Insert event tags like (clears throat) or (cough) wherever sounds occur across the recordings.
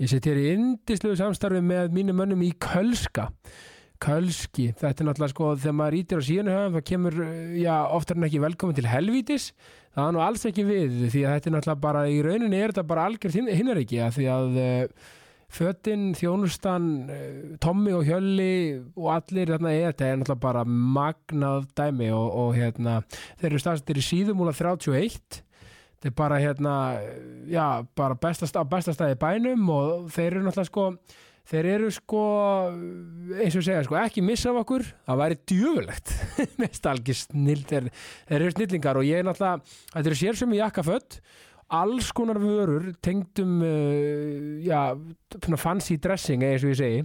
Ég sitt hér í indislegu samstarfi með mínum mönnum í Kölska. Kölski, þetta er náttúrulega sko þegar maður ítir á síðan höfum það kemur, eh, já, oftar en ekki velkomin til helvítis. Það er nú alls ekki við því að þetta er náttúrulega bara, í rauninni er þetta bara algjörð hinnaríki að því að uh, fötin, þjónustan, uh, Tommy og Hjölli og allir þarna er þetta er náttúrulega bara magnað dæmi og, og hérna, þeir eru staðstir í síðumúla 31 þetta er bara hérna já, bara bestast, á bestastæði bænum og þeir eru náttúrulega sko þeir eru sko eins og segja sko, ekki missa af okkur það væri djöfulegt (laughs) mest algjör snill þeir, þeir eru snillingar og ég er náttúrulega, þetta eru sér sem í jakkafött alls konar vörur tengdum uh, já, svona fancy dressing eins og ég segi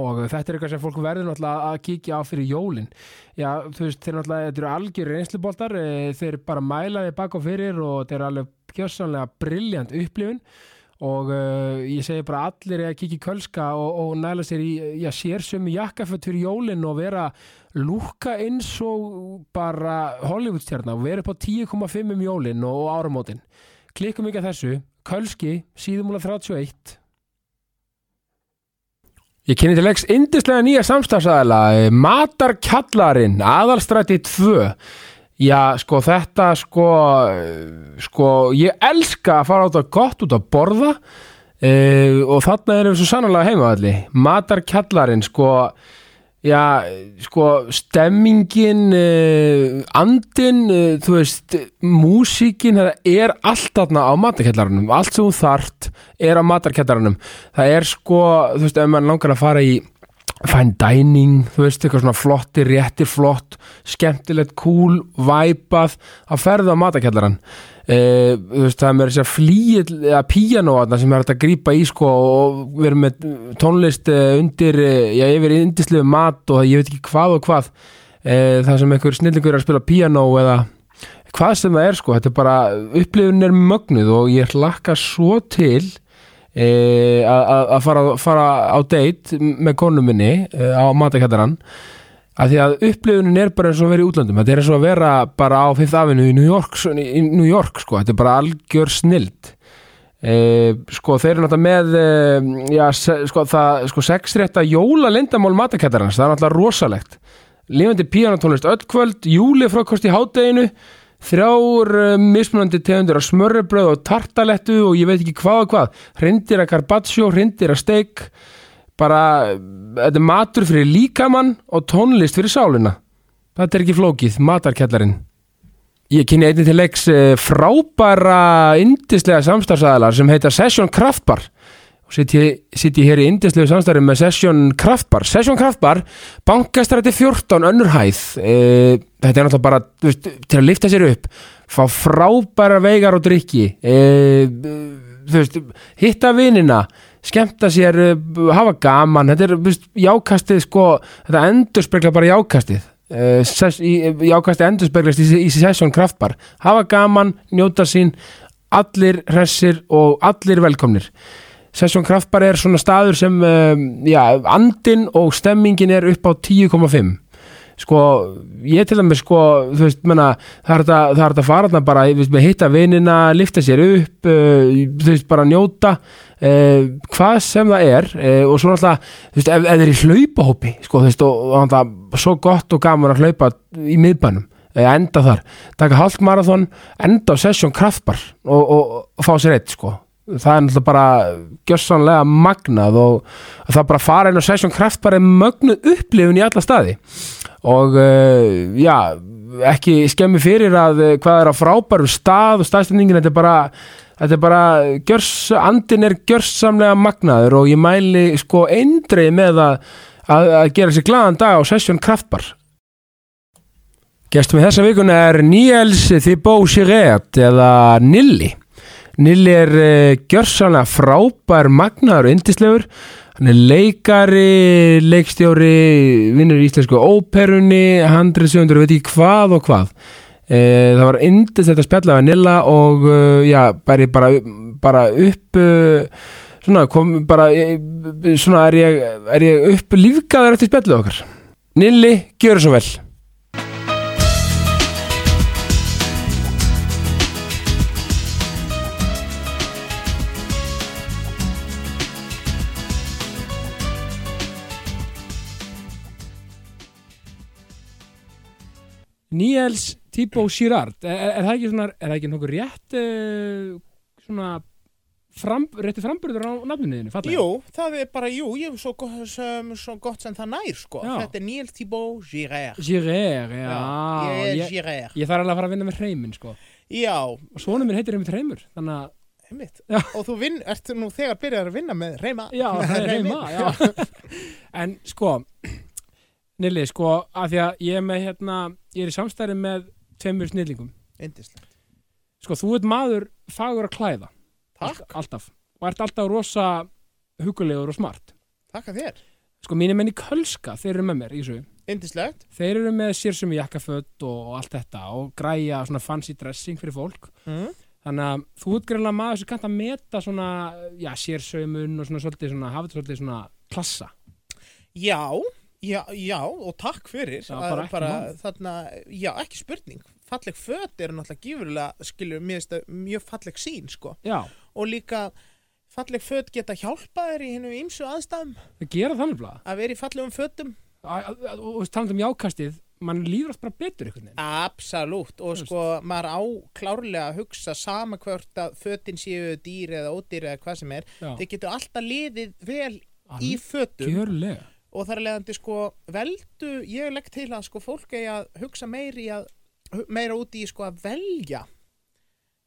og þetta er eitthvað sem fólk verður náttúrulega að kíkja á fyrir jólin já, þú veist, þeir náttúrulega, þetta eru algjör reynsluboltar, eh, þeir bara mæla þeir bak og fyrir og þetta er alveg gjössanlega briljant upplifun og uh, ég segi bara allir að kíkja í kölska og, og næla sér í já, sér sömu jakkaföt fyrir jólin og vera lúka eins og bara Hollywoodstjarna og vera upp á 10,5 um jólin og, og áramótin klikkum ekki að þessu, kölski síðumúla 31 Ég kynni til leiks indislega nýja samstafsæðala, Matarkjallarinn, aðalstræti 2. Já, sko þetta, sko, eh, sko, ég elska að fara át að gott út að borða uh, og þarna erum við svo sannlega heima allir. Matarkjallarinn, sko, já, sko, stemmingin, uh, andin, uh, þú veist, músíkin, það er allt þarna á matarkjallarunum, allt sem þú þart er á matarkjallarunum. Það er sko, þú veist, ef mann langar að fara í fine dining, þú veist, eitthvað svona flotti, rétti flott, skemmtilegt, cool, væpað, að ferða á matarkjallaran. Uh, þú veist, það er mér þess að flýja eða píjanóðna sem er hægt að grípa í sko og vera með tónlist eh, undir, eh, já, yfir indislegu mat og ég veit ekki hvað og hvað uh, það sem einhver snillingur er að spila píjanó eða hvað sem það er sko, þetta er bara upplifun er mögnuð og ég hlakka svo til eh, að að- að fara, fara á date með konu minni eh, á matakættarann að því að upplifunin er bara eins og að vera í útlandum þetta er eins og að vera bara á Fifth Avenue í New York, í New York sko. þetta er bara algjör snild e, sko þeir eru náttúrulega með e, já, se, sko, það, sko sexrétta jóla lindamál matakættarans það er náttúrulega rosalegt lifandi píanatónlist öll kvöld, júlifrókost í hádeginu þrjár eh, mismunandi tegundir af smörrebröð og tartalettu og ég veit ekki hvað og hvað hrindir að carpaccio, hrindir að steik bara, eh, þetta er matur fyrir líkamann og tónlist fyrir sálina þetta er ekki flókið, matarkjallarinn ég kynni einnig til leiks eh, frábæra indislega samstarfsæðalar sem heita Session Kraftbar og sitt ég, sitt ég hér í indislegu samstarfi með Session Kraftbar Session Kraftbar, bankastræti 14 önnur hæð e, þetta er náttúrulega bara þú veist, til að lifta sér upp fá frábæra veigar og Eh, drikki e, þú veist, hitta vinina skemmta sér, eh, hafa gaman þetta er þú veist, jákastið sko þetta endur spekla bara jákastið Eh, ses, í, jákastið endur speglast í, í Session Kraftbar hafa gaman, njóta sín allir hressir og allir velkomnir Sessjón Kraftbar er svona staður sem um, já, andin og stemmingin er upp á 10,5 sko, ég til dæmis sko, þú veist, menna, það er þetta það er þetta faraðna bara, þú veist, með hitta vinina lifta sér upp, uh, þú veist, bara njóta uh, hvað sem það er uh, og svona alltaf þú veist, ef, ef það er í hlaupahópi sko, þú veist, og, og alltaf svo gott og gaman að hlaupa í miðbænum eh, enda þar, taka hálft marathon enda á sessjón kraftbar og, og, og fá sér eitt, sko það er náttúrulega bara gjössanlega magnað og það bara fara inn á sessjón kraftbar er mögnuð upplifun í alla staði og uh, já, ekki skemmi fyrir að uh, hvað er á frábæru stað og staðstendingin, þetta er bara þetta er bara, gjörs, andin er gjörsamlega magnaður og ég mæli sko eindreið með að, að, að gera sér glaðan dag á Session Kraftbar Gestum í þessa vikuna er Níels Þibó Siret eða Nilli Nilli er uh, gjörsanlega frábær magnaður og yndislegur hann er leikari, leikstjóri vinnur í íslensku óperunni handriðsjóndur, veit ekki hvað og hvað e, það var yndist þetta spjalla við Nilla og uh, já, bæri bara, bara upp uh, svona, kom bara eh, svona er ég, er ég upp lífgaður eftir spjallið okkar Nilli, gjör svo vel Níels Tíbo Girard er, er, er það ekki svona, er það ekki nokkuð rétt uh, svona fram, rétti framburður á nafninuðinu fallega? Jú, það er bara, jú, ég er svo, go- sem, svo gott sem það nær, sko. Já. Þetta er Níel Thibaut Girard. Girard, já, Ég er ég, Girard. ég þarf alveg að fara að vinna með hreiminn sko. Já, og svona minn heitir einmitt hreimur þannig að, einmitt. Já. Og þú vinn, ert nú þegar byrjar að vinna með reyma. (laughs) já, það er Hreiminn. hreima já. (laughs) en sko Nili, sko, af því að ég er með hérna, ég er í samstæri með tveimur snillingum, Indislega. sko, þú ert maður fagur að klæða, Takk, Allt- alltaf og ert alltaf rosa hugulegur og smart takk að þér. sko, mínir menn í Kölska, þeir eru með mér í þessu Indislegt. þeir eru með sérsum í jakkaföt og allt þetta og græja svona fancy dressing fyrir fólk Mm. þannig að þú ert greinlega maður sem kannt að meta svona, já, sérsaumun og svona svolítið svona, hafa þetta svolítið svona klassa Já, já, já, og takk fyrir Já, að bara ekki mál. þarna, já, ekki spurning falleg föt eru náttúrulega gífurlega skilur mér finnst það mjög falleg sín sko. já, og líka falleg föt geta hjálpa þér í hennu ýmsu aðstæðum þau gera þannig blá að vera í fallegum fötum og og talandi um jákastið, mann líður allt bara betur einhvern veginn, Absolutt, og Þú veist. sko maður á klárlega að hugsa sama hvort að fötin séu dýr eða ódýr eða hvað sem er, Já. þeir getur alltaf liðið vel í alveg fötum gjörlega og þar að leiðandi sko veldu, ég legg til að sko fólk eigi að hugsa meiri að, meira út í sko að velja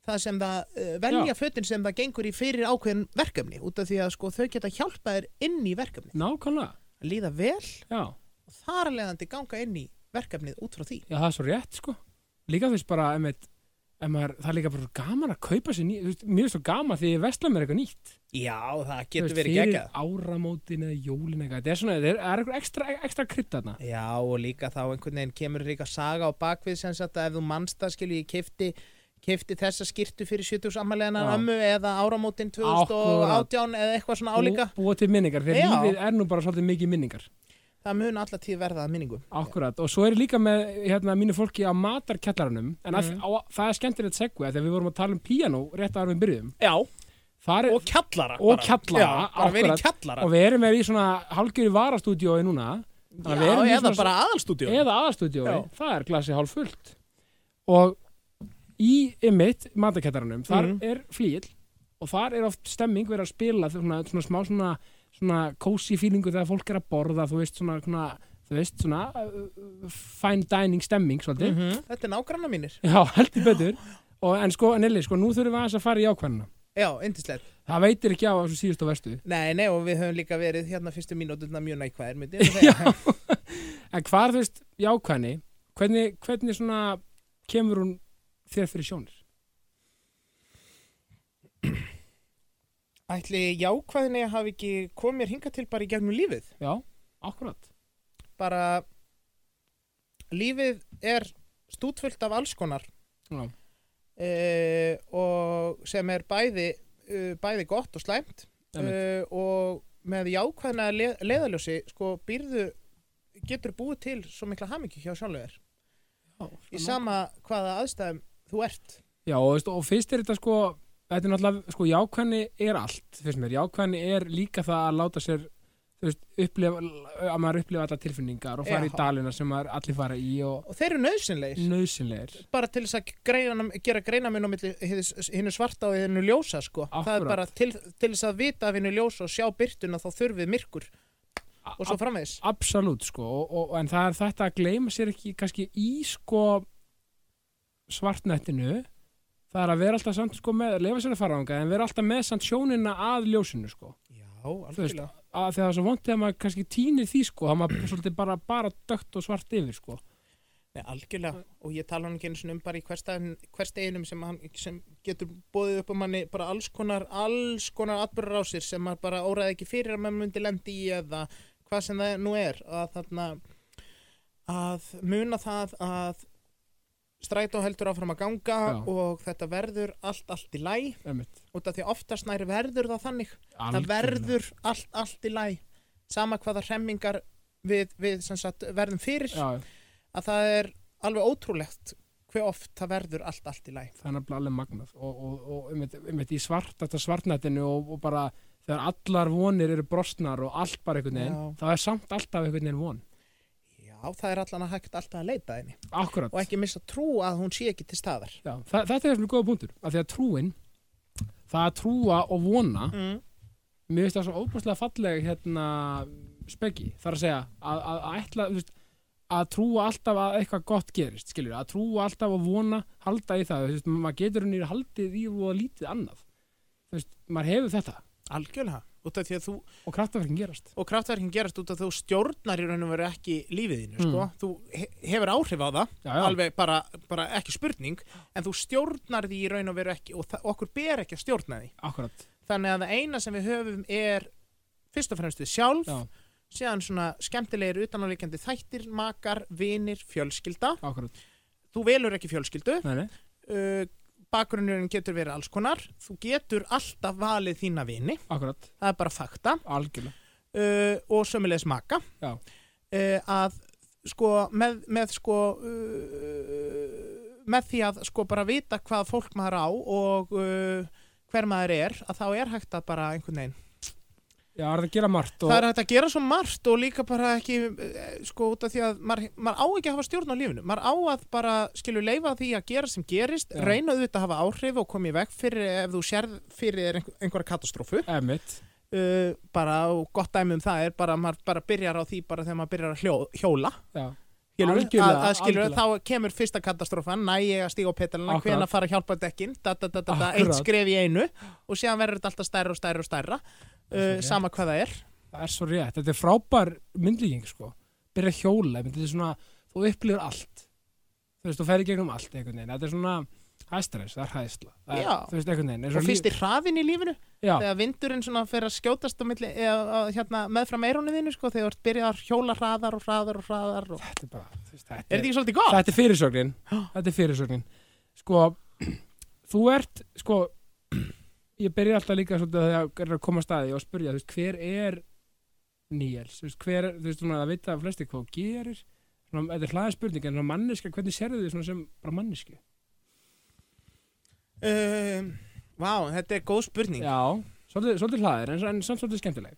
það sem það, uh, velja Já. fötin sem það gengur í fyrir ákveðin verkefni út af því að sko þau geta hjálpa þér inn í verkefni nákvæmlega, að líða vel já, og þar að leiðandi ganga inn í verkefnið út frá því já, það er svo rétt sko líka þú veist bara, emitt Maður, það er líka bara svo gaman að kaupa sér ný, þú veist, mér er svo gaman því ég vesla mér eitthvað nýtt Já, það getur Þú verið veist, fyrir geggjað áramótin eða jólin eitthvað þetta er svona, það er eitthvað ekstra, ekstra krydd þarna Já, og líka þá einhvern veginn kemur líka saga á bakvið sem sagt að ef þú manst það skilju ég kefti, kefti þessa skirtu fyrir 70 ammaliðanar Já. ömmu eða áramótin 2018 Akkúrat. eða eitthvað svona álíka Bú- búa til minningar, því Já. að lífið er nú bara svolítið mikið minningar það mun alltaf tíð verða að minningum akkurat, og svo er ég líka með hérna, mínu fólki á matarkjallaranum en Mhm. að, á, það er skemmtilegt segvið þegar við vorum að tala um píanó rétt ára við byrjuðum Já, Þar er, og kjallara og bara. kjallara, Já, bara verið í akkurat. kjallara og við erum með í svona hálfgjöri varastúdíói núna Þannig að við Já, erum í eða svona- bara aðalstúdíu eða aðastúdíói, Já. það er glasi hálf fullt og í ymmit matarkjallaranum, þar Mhm. er flýill og þar er oft stemming verið að spila svona, svona smá svona, svona cozy feelingu þegar fólk er að borða þú veist svona, svona þú veist svona uh, uh, fine dining stemming svolítið Mhm. Þetta er nágranna mínir Já, heldur betur og, En sko, Nelli, sko, nú þurfum við aðeins að fara í ákvæmna Já, yndislegt Það veitir ekki á þessu síðust og vestu Nei, nei, og við höfum líka verið hérna fyrstu mínúturna mjög nækvæðir myndi ég segja. (laughs) En hvað er þú veist í ákvæmni hvernig, hvernig svona kemur hún þér fyrir sjónir? Ætli jákvæðinni hafi ekki komið mér hingað til bara í gegnum lífið Já, akkurat bara lífið er stútfullt af alls konar Já, uh, og sem er bæði, uh, bæði gott og slæmt uh, og með jákvæðna le leðaljósi sko býrðu getur búið til svo mikla hamingi hjá sjálfur já, í sama hvaða aðstæðum þú ert já og, veist, og fyrst er þetta sko Þetta er náttúrulega, sko, jákvæmni er allt fyrst mér, jákvæmni er líka það að láta sér þú veist, upplifa að maður upplifa alla tilfinningar og Já. fara í dalina sem maður allir fara í og og þeir eru nöðsynleir nöðsynlegir bara til þess að greina, gera greina minn á milli hins- hinu svarta og hinu ljósa sko. það er Akkúrat. bara til, til þess að vita af hinu ljósa og sjá byrtuna þá þurfið myrkur og svo framvegis Absolutt sko, og, og, en það er þetta að gleyma sér ekki kannski í sko svartnættinu það er að vera alltaf samt sko með, leifa sér að fara ánga en vera alltaf með samt sjónina að ljósinu sko, Já, þú veist algjörlega að því að það er svo vont þegar maður kannski týnir því sko, það maður svolítið bara, bara dögt og svart yfir sko Nei, algjörlega, og ég tala hann ekki einu sinni um bara í hversteginum sem, hann- sem getur bóðið upp á manni bara alls konar, alls konar atbyrðarásir sem maður bara óraði ekki fyrir að maður myndi lendi í eða hvað sem það nú er að þarna að muna það að strætó heldur áfram að ganga Já. og þetta verður allt, allt í læ einmitt. út af því oftast næri verður það þannig það verður allt, allt í læ sama hvaða hremmingar við, við sem sagt, verðum fyrir Já, að það er alveg ótrúlegt hver oft það verður allt, allt í læ. það er nefnilega alveg magnað og, og, og einmitt, einmitt í svart, þetta svartnættinu og, og bara þegar allar vonir eru brostnar og allt bara einhvern veginn, Já. það er samt alltaf einhvern veginn von Já, það er allan að hægt alltaf að leita að henni akkurat og ekki missa trú að hún sé ekki til staðar Já, þa þetta er svona góða punktur af því að trúin, það að trúa og vona mm. mér finnst það svo óbúslega falleg hérna, speggi, þar að segja að, að, að ætla, þú veist að trúa alltaf að eitthvað gott gerist skilur, að trúa alltaf að vona, halda í það þú veist, maður getur henni haldið í og lítið annað, þú veist, maður hefur þetta algjörlega, út af því að þú og kraftafrækin gerast og kraftverkin gerast út af þú stjórnar í raun og veru ekki lífið þínu Mm. sko. þú he hefur áhrif á það já, já, alveg bara, bara ekki spurning en þú stjórnar því í raun og veru ekki og það- okkur ber ekki að stjórna því akkurat þannig að það eina sem við höfum er fyrst og fremst við sjálf já, síðan svona skemmtilegir utanálíkjandi þættir, makar, vinir, fjölskylda akkurat, þú velur ekki fjölskyldu nei, nei, uh, bakgrunnurinn getur verið alls konar þú getur alltaf valið þína vini akkurat það er bara fakta algjörlega, uh, og sömulegis maka Já. Eh, að sko með, með sko uh, með því að sko bara vita hvað fólk maður á og uh, hver maður er að þá er hægt að bara einhvern veginn já, það er að gera margt og, það er hægt að gera svo margt og líka bara ekki eh, sko út af því að maður, maður á ekki að hafa stjórn á lífinu maður á að bara skilur leifa því að gera sem gerist Já. reyna auðvitað að hafa áhrif og komið veg fyrir ef þú sérð fyrir þér einhver, einhverja katastrófu emitt, uh, bara og gott dæmi um það er bara að maður bara byrjar á því bara þegar maður byrjar að hljó, hjóla já, skilur, Algjörlega, að, að skilur, algjörlega. þá kemur fyrsta katastrófan, næ ég að stíga á petalina Akkurat. hvena fara að hjálpa dekkin da, da, da, da, da, Akkurat. eitt skref í einu og síðan verður þetta alltaf stærra og stærra og stærra Það uh, er rétt. sama hvað það er það er svo rétt, þetta er frábær myndlíking sko, byrja að hjóla ég myndi, þetta er svona, þú upplifur allt þú veist, þú ferði gegnum allt einhvern veginn þetta er svona hæstress, það er hæsla það er, Já. þú veist, einhvern veginn, eins og fyrst í hraðin í lífinu já, þegar vindurinn svona fer að skjótast á milli, eða, að, hérna, meðfram eirónu þínu sko, þegar þú ert byrjað að hjóla hraðar og hraðar og hraðar og... þetta er bara þú veist, er þetta þetta er, ekki svolítið gott? þetta er fyrirsögnin þetta er fyrirsögnin sko, (clears throat) þú ert sko, (clears throat) ég byrja alltaf líka svolítið þegar ég er að koma að staði og spyrja þú veist, hver er Níels þú veist, hver er, þú veist, svona, það vita flesti hvað þú gerir svona, þetta er hlaðin spurning en svona manneska, hvernig sérðu þið svona sem bara manneski? Um, vá, þetta er góð spurning já, Já, svolítið, svolítið hlaðir en, en samt svolítið skemmtileg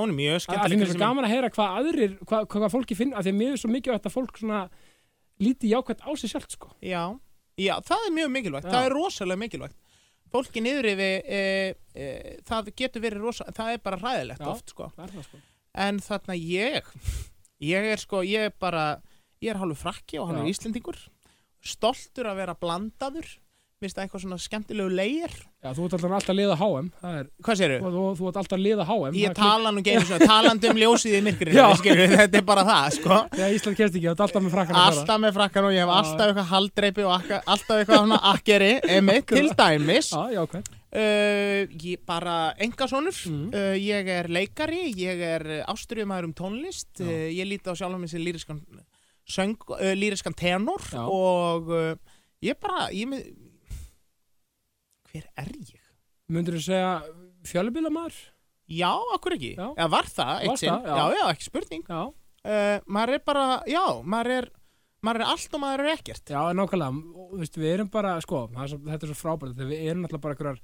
hún er mjög Það Ah, finnst skemmtileg svo gaman að heyra hvað aðrir hvað, hvað, hvað fólki finn, af því að mér er svo mikið að fólk svona lítið jákvæmt á sig sjálft sko. Já, já, það er mjög mikilvægt, Já. það er rosalega mikilvægt. Fólki niður yfir, e, e, það getur verið rosalega, það er bara ræðilegt Já. oft, sko. Það er það sko En þarna ég, ég er sko, ég er bara, ég er hálfur frakki og hálfur Já. íslendingur, stoltur að vera blandaður, minnst það eitthvað svona skemmtilegu leir. Já, þú ert alltaf alltaf að liða HM það er, Hvað þú, sérðu? þú, þú ert alltaf að liða HM Ég það er klink- tala nú geinu svona, talandi um ljósið í myrkrinu, Já. skilur, þetta er bara það, sko. Þegar Ísland kemst ekki, þú ert alltaf með frakkan Alltaf með frakkan og ég hef Já. alltaf eitthvað halddreipi og akka- alltaf eitthvað svona akkeri, emi, til dæmis. Já, jákvæmt Uh, ég bara engasonur, Mm. uh, ég er leikari, ég er ástriðumæður um tónlist, Já. uh, ég líti á sjálfum minn sem lýriskan, söng, uh, lýriskan tenor Já. og uh, ég bara, ég með, hver er ég? Mundur þú segja fjölubílamar? Já, akkur ekki, Já. eða var það Var eitt sinn, það, já. já. já, ekki spurning, Já, uh, maður er bara, já, maður er, maður er allt og maður er ekkert, já, nákvæmlega Og, þú veist, Við erum bara, sko, það er svo- þetta er svo frábært þegar við erum alltaf bara einhverjar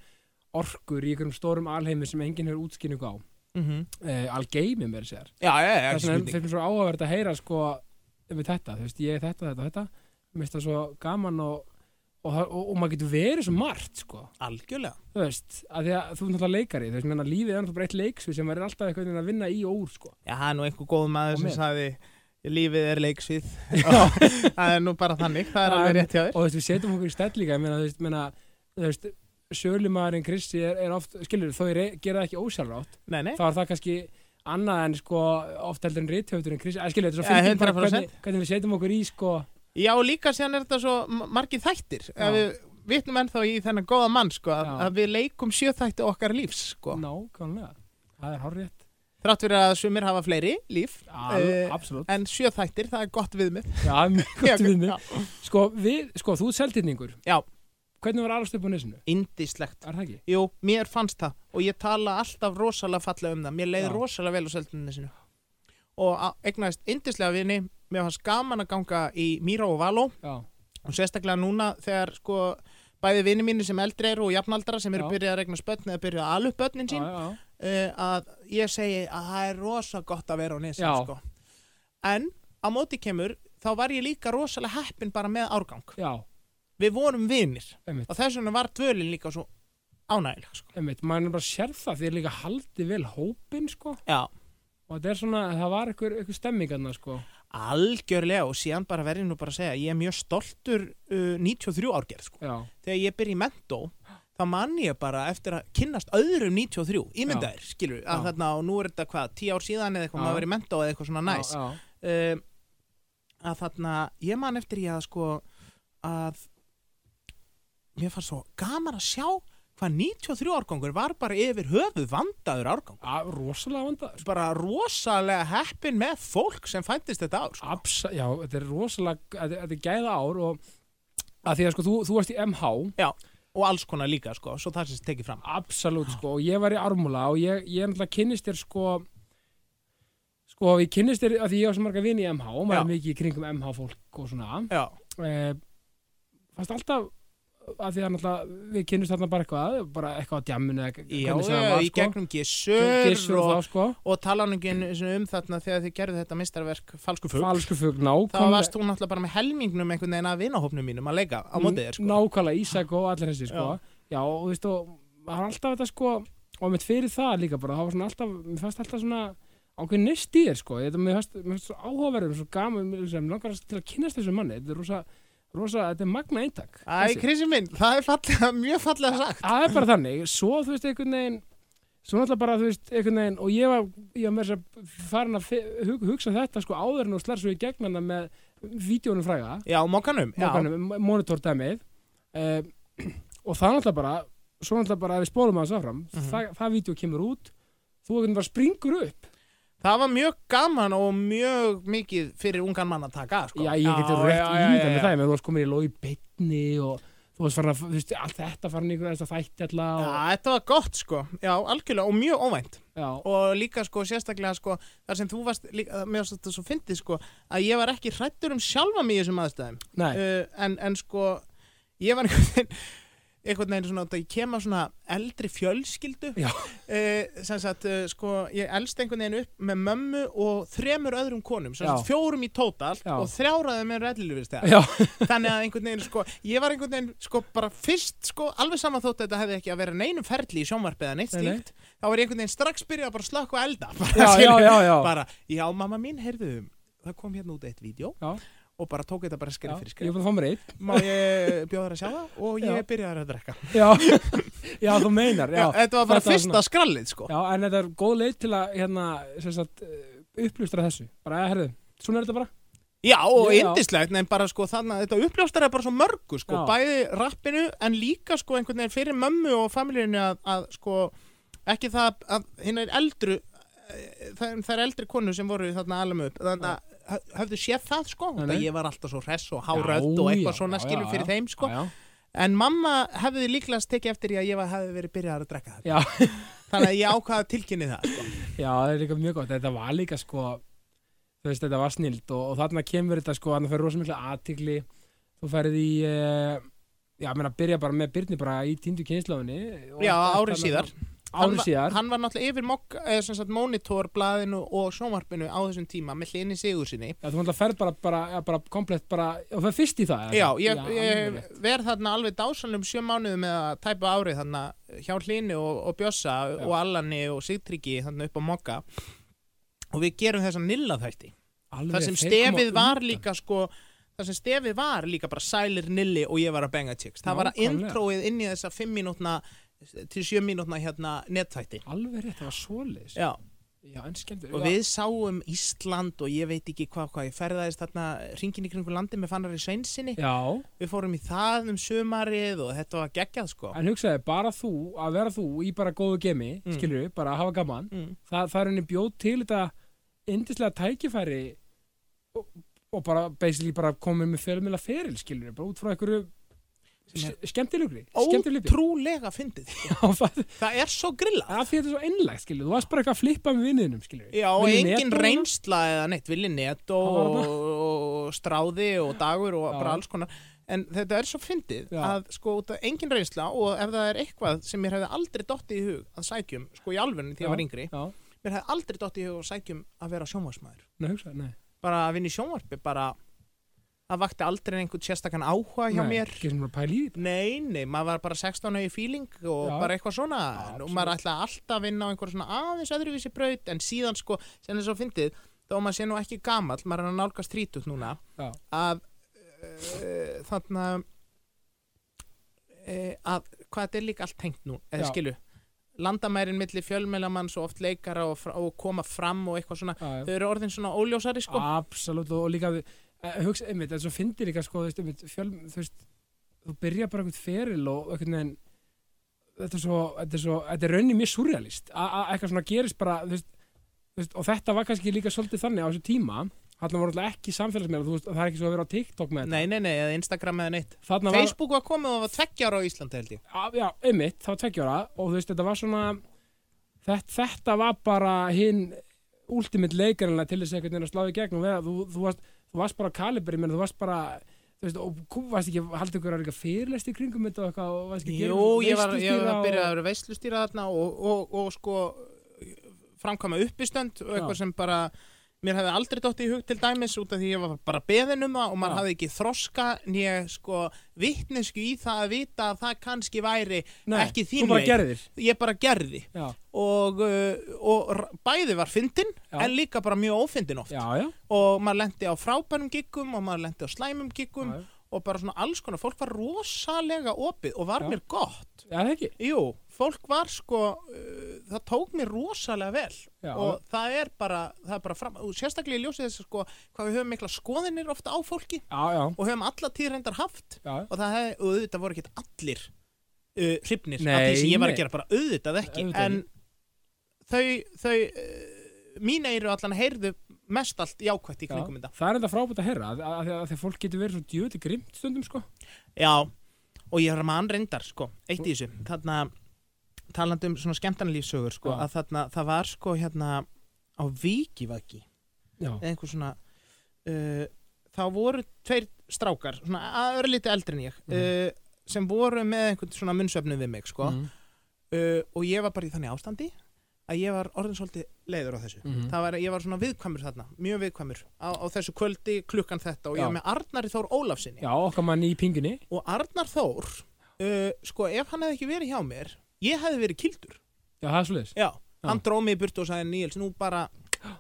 orkur í einhverjum stórum alheimi sem enginn hefur útskynningu á eh, algeimi mér sér já, já, já, ekki þess vegna spurning, finnst mér svo áhugavert að heyra sko um þetta, þú veist, ég er þetta, þetta, þetta mér finnst það svo gaman og og, það- og, og maður getur verið svo margt sko algjörlega, þú veist, að því að þú er náttúrulega leikari þú veist, menna lífið er náttúrulega bara eitt leiksvið sem maður er alltaf eitthvað að vinna í og úr sko já, það er nú einhver góð maður Og sem með. sagði, lífið er leiksvið, (laughs) það er nú bara þannig, það er alveg rétt hjá þér. og þú veist, við setjum okkur í stætt líka ég meina, þú veist, meina, þú veist sölumarinn Kristi er, er oft, skilur, þó ég re- gera það ekki ósjálfrátt, Nei, nei, þá er það kannski annað en sko oft heldur en rithöfundurinn Kristi, að skilur, Ja, þetta er svo fyndið bara 100%. hvernig, hvernig við setjum okkur í sko já og líka síðan er þetta svo m- margir þættir Já. ef við vitnum ennþá í þennan góða mann sko, að, Já. Mm. að við leikum sjöþætti okkar lífs sko. Nákvæmlega, það er hárétt þrátt fyrir að sumir hafa fleiri líf Al, Eh, Absolutt, en sjöþættir, það er gott viðmið já, (laughs) mjög Já, gott við mig já. sko, við, sko, þú ert seltirningur Já. Hvernig var alveg upp á nesinu? Indislegt, Er það ekki? jú, mér fannst það og ég tala alltaf rosalega fallega um það mér leiði Já. rosalega vel á selduninni sinu og á- eignaðist indislega vini mér fannst gaman að ganga í Míró og Való Já, og sérstaklega núna þegar sko bæði vini mínir sem eldri eru og jafnaldra sem eru Já. byrjað að regna spötn eða byrjað að ala upp börnin já, sín eh, já, uh, að ég segi að það er rosa gott að vera á nesin Já. sko. en á móti kemur þá var ég líka rosalega heppin bara með árgang já, við vorum vinir einmitt, og þess vegna var dvölin líka svo ánægileg sko. einmitt maður er bara sér það, þið er líka haldið vel hópin sko, já, og þetta er svona það var einhver, einhver stemmingarna sko algjörlega og síðan bara verið nú bara að segja ég er mjög stoltur uh, 93 árgerð sko. já, þegar ég byrja í mentó þá mann ég bara eftir að kynnast öðrum 93, ímyndaðir, skilur við, að Já. þarna og nú er þetta hvað, 10 ár síðan eða eitthvað, Já. maður verið í mentó eða eitthvað svona næs já, já, um, að þarna ég man eftir ég að sko að mér fannst svo gaman að sjá hvað 93 árgangur var bara yfir höfuð vandaður árgang já, rosalega vandað sko. bara rosalega heppin með fólk sem fændist þetta ár sko. Absa, já, þetta er rosalega þetta, þetta er gæða ár og að því að sko, þú, þú varst í MH Já, og alls konar líka sko, svo það sem þessi tekið fram absolutt sko, og ég var í Ármúla og ég, ég náttúrulega kynnist þér sko sko, ég kynnist þér að því ég var svo marga vini í MH og maður Já. er mikið í kringum MH fólk og svona Já, eh, fast alltaf að því að náttúrulega við kynnist þarna bara eitthvað bara eitthvað á djamminu eða já, hvernig sem það já var í sko gegnum gissur, Gissur og og, þá sko og talanugin um þarna þegar þið gerðu þetta mistarverk falsku fugg falsku fugg, þá nákvæmlega varst þú náttúrulega bara með helmingnum einhvern veginn að vinahópnum mínum að leika á mótið þér sko. nákvæmlega Ísak og allir þessi sko já, og þú veist og það var alltaf þetta sko og mitt fyrir það líka bara, það var svona alltaf mér fannst alltaf svona ákveðin nýst í þér sko þetta mér fannst, mér fannst svo áhugaverðum, svo gaman mér sem langar til að kynast þessu manni þetta er rosa, rosa, þetta er magna eintak Æ, þessi. Krissi minn, það er fallega, mjög fallega sagt. það er bara þannig, svo þú veist einhvern veginn svo náttúrulega bara þú veist einhvern veginn og ég var, ég var með þess að farin að fi- hug, hugsa þetta sko áður en og slær svo í gegnana með vídjónum fræga Já, mókanum. já. mókanum, monitordæmið uh, og það náttúrulega bara svo náttúrulega bara að við spólum aðeins áfram Mhm. það, það vídeo kemur út þú einhvern veginn bara springur upp Það var mjög gaman og mjög mikið fyrir ungan mann að taka, sko. já ég geti rétt já, já, ímyndað já, með já. það ég meina, þú varst komin í logi beitni og þú varst farin að, þú veist, allt þetta farin í einhverja þessa þætti alla Já, og, þetta var gott, sko. Já, algjörlega og mjög óvænt. já, Og líka, sko, sérstaklega, sko, þar sem þú varst, líka, mér varst þetta svo fyndið, sko, að ég var ekki hrættur um sjálfa mig í þessum aðstæðum. nei, uh, en, en sko ég var einhvern veginn einhvern veginn svona, ég kem að svona eldri fjölskyldu Já. Eh, sem sagt, uh, sko, ég elst einhvern veginn upp með mömmu og þremur öðrum konum, sem Já. sagt, fjórum í tótal Já. og þrjáraði með rellilvistega já, (laughs) þannig að einhvern veginn, sko, ég var einhvern veginn sko, bara fyrst, sko, alveg saman þótt að þetta hefði ekki að vera neinum ferli í sjónvarpið eða neitt Nei, nei. slíkt, þá var ég einhvern veginn strax byrjað að bara slökk og elda, bara, já, já, skilurðu, já, já. bara, já, mamma mín, heyrðu það kom hérna út eitt vídeo Já. og bara tók þetta bara já skrif fyrir ég skrif er búin að fá mér eitt (laughs) má ég bjóða þér að sjá það og ég Já. byrjaði að drekka já, já, þú meinar já, þetta var bara þetta var fyrsta skrallið sko já, en þetta er góð leið til að hérna, sem sagt, upplustra þessu bara, eh, herðu, svona er þetta bara já og Já, já. indislegt, en bara sko þannig að þetta uppljóstar er bara svo mörgu sko, Já. bæði rappinu en líka sko einhvern veginn fyrir mömmu og familíunni að, að sko ekki það að hinn er eldru það, það er eldri konu sem voru þarna alveg upp, þannig að hö- höfðu séð það sko, Nei, það nei. ég var alltaf svo hress og Já, háröld og eitthvað já, svona já, skilur já, fyrir já. þeim sko já, já. en mamma hefði líklega tekið eftir í að ég var- hefði verið byrjað að drekka þetta Já. þannig að ég ákvaða tilkynni það sko. Já, það er líka mjög gott, þetta var líka sko þú veist, þetta var snild og, og þarna kemur þetta sko, þarna fyrir rosa mikla aðtigli þú færið í eh, já, menna, byrja bara með Byrni bara í týndu kynnslóðinni og- Já, og- ári síðar. Ári var- síðar, hann var náttúrulega yfir mok, eh, sem sagt, monitor, blaðinu og sjónvarpinu á þessum tíma með hlinni sigur sinni já, þú náttúrulega ferð bara, bara, já, bara komplett bara, og fer fyrst í það já, ég, alveg ég rétt. verð þarna alveg dásanum sjö mánuði með að tæpa árið þarna hjá hlinni og, og Bjossa Já. og Allani og Sigtryggi þarna upp á mokka og við gerum þessa nilla þætti alveg, þar sem þeir stefið koma var undan. líka sko þar sem stefið var líka bara sælir nilli og ég var að benga chicks það var að Nákvæmlega. introið inn í þessa 5 mínútna til 7 mínútna hérna nettætti alveg rétt, það var svoleiðis já já, en skemmt og við sáum Ísland og ég veit ekki hvað hvað ég ferðaðist þarna ringin í kringu landi með fannari sveinsinni já, við fórum í það um sumarið og þetta var geggjað sko en hugsaði, bara þú að vera þú í bara góðu Mm. gemi mm. skilur bara að hafa gaman mm. það, það er henni bjóð til þetta yndislega tækifæri og, og bara basically bara komið með fjölmjöla feril skilur bara út frá einhverju Sem er- skemmtilegri (laughs) skemmtilegri ótrúlega fyndið af (laughs) það er svo grilla því þetta er svo einlægt skilur þú varst bara eitthvað að flippa með vinninum skilur já og engin reynsla eða neitt villi net og, Það var og, og stráði og dagur og Já. bara alls konar en þetta er svo fyndið Já. að sko út af engin reynsla og ef það er eitthvað sem mér hefði aldrei dottið í hug að sækjum sko í alvörni því að ég var yngri já, mér hefði aldrei dottið í hug að sækjum að vera sjónvarsmaður nei, hugsa, nei. bara að vinna í sjónvarpi bara, það vakti aldrei einhvern sérstakann áhuga hjá mér Ekki sem bara pæli í því. Nei, nei, maður var bara 16 ára í feeling og Já. bara eitthvað svona Já, og maður ætlaði alltaf að vinna á einhverjum svona aðeins öðruvísi braut en síðan sko, sem þess að fyndið þó maður sé nú ekki gamall, maður er að nálgast 30 núna Já. að uh, þarna uh, að hvað þetta er líka allt tengt nú, eða Já. skilu landamærin milli fjölmelamanns og oft leikara og, fra- og koma fram og eitthvað svona Já, já. þau eru orðin svona óljósari sko Absolutt og og líka við- eh, hugsa einmitt, en svo fyndir líka sko, þú veist, einmitt, fjöl, þú veist, þú byrja bara einhvern feril og einhvern veginn þetta er svo, þetta er svo, þetta er raunin mjög surrealist, A- a- eitthvað svona gerist bara þú veist, þú veist, og þetta var kannski líka svolítið þannig á þessu tíma, þarna voru alltaf ekki samfélagsmeila, þú veist, það er ekki svo að vera á TikTok með þetta, Nei, nei, nei, eða Instagram eða neitt þarna var, Facebook var komið og það var tveggjára á Íslandi held ég að, já, einmitt, það var tveggjóra og þú veist, þetta var svona þetta, þetta var bara hinn ultimate leikarinlega til þess að einhvern veginn að slá í gegn og veða, þú, þú, varst, þú varst bara kalibri, menn, þú varst bara þú veist, og kú, varst ekki, haldið ykkur að fyrirlest í kringum þetta og eitthvað og varst ekki að gera Jú, ég var, ég var veislustýra að og- byrja að vera veislustýra þarna og, og, og sko framkvæma uppistönd og eitthvað Já. sem bara mér hefði aldrei dótt í hug til dæmis út af því ég var bara beðin um það og maður Já. hafði ekki þroska nýja sko vitnesku í það að vita að það kannski væri Nei, ekki þú þín bara gerðir ég bara gerði já, og, uh, og r- bæði var fyndin Já. en líka bara mjög ófyndin oft já, já, og maður lendi á frábærum giggum og maður lendi á slæmum giggum Já, já. og bara svona alls konar, fólk var rosalega opið og var Já. mér gott já, það ekki Jú, fólk var sko uh, það tók mér rosalega vel Já. og það er bara, það er bara fram, og sérstaklega í ljósið þess að sko hvað við höfum mikla skoðinir ofta á fólki já, já, og höfum alla tíðrændar haft já, og það hef, og auðvitað voru ekkert allir uh, hrifnir af Nei, því sem ég var nei. að gera bara auðvitað ekki Auðvitað en þau, þau uh, mín eiru allan heyrðu mest allt jákvætt í já. kringum þetta það er enda frábært að herra þegar fólk getur verið svo djöðli grimt stundum sko Já, og ég er með ann reyndar sko, eitt í þessu, þarna talandi um svona skemmtanlífsögur sko, Já. að þarna, það var sko hérna á Víkivaki já, eða einhver svona uh, þá voru tveir strákar svona að örlítið eldri en ég Mhm. uh, sem voru með einhvern svona munnsöfnu við mig sko, Mm. uh, og ég var bara í þannig ástandi að ég var orðin svolítið leiður á þessu það Mhm. var, ég var svona viðkvæmur þarna, mjög viðkvæmur á, á þessu kvöldi klukkan þetta og ég Já. var með Arnari Þór Ólafsinni já, okkar mann í pingunni og Arnar Þór uh, sko ef hann hefði ekki verið hjá mér ég hefði verið kildur já, það er svoleiðis já, hann dróð mig í burtu og sagði Níels nú bara,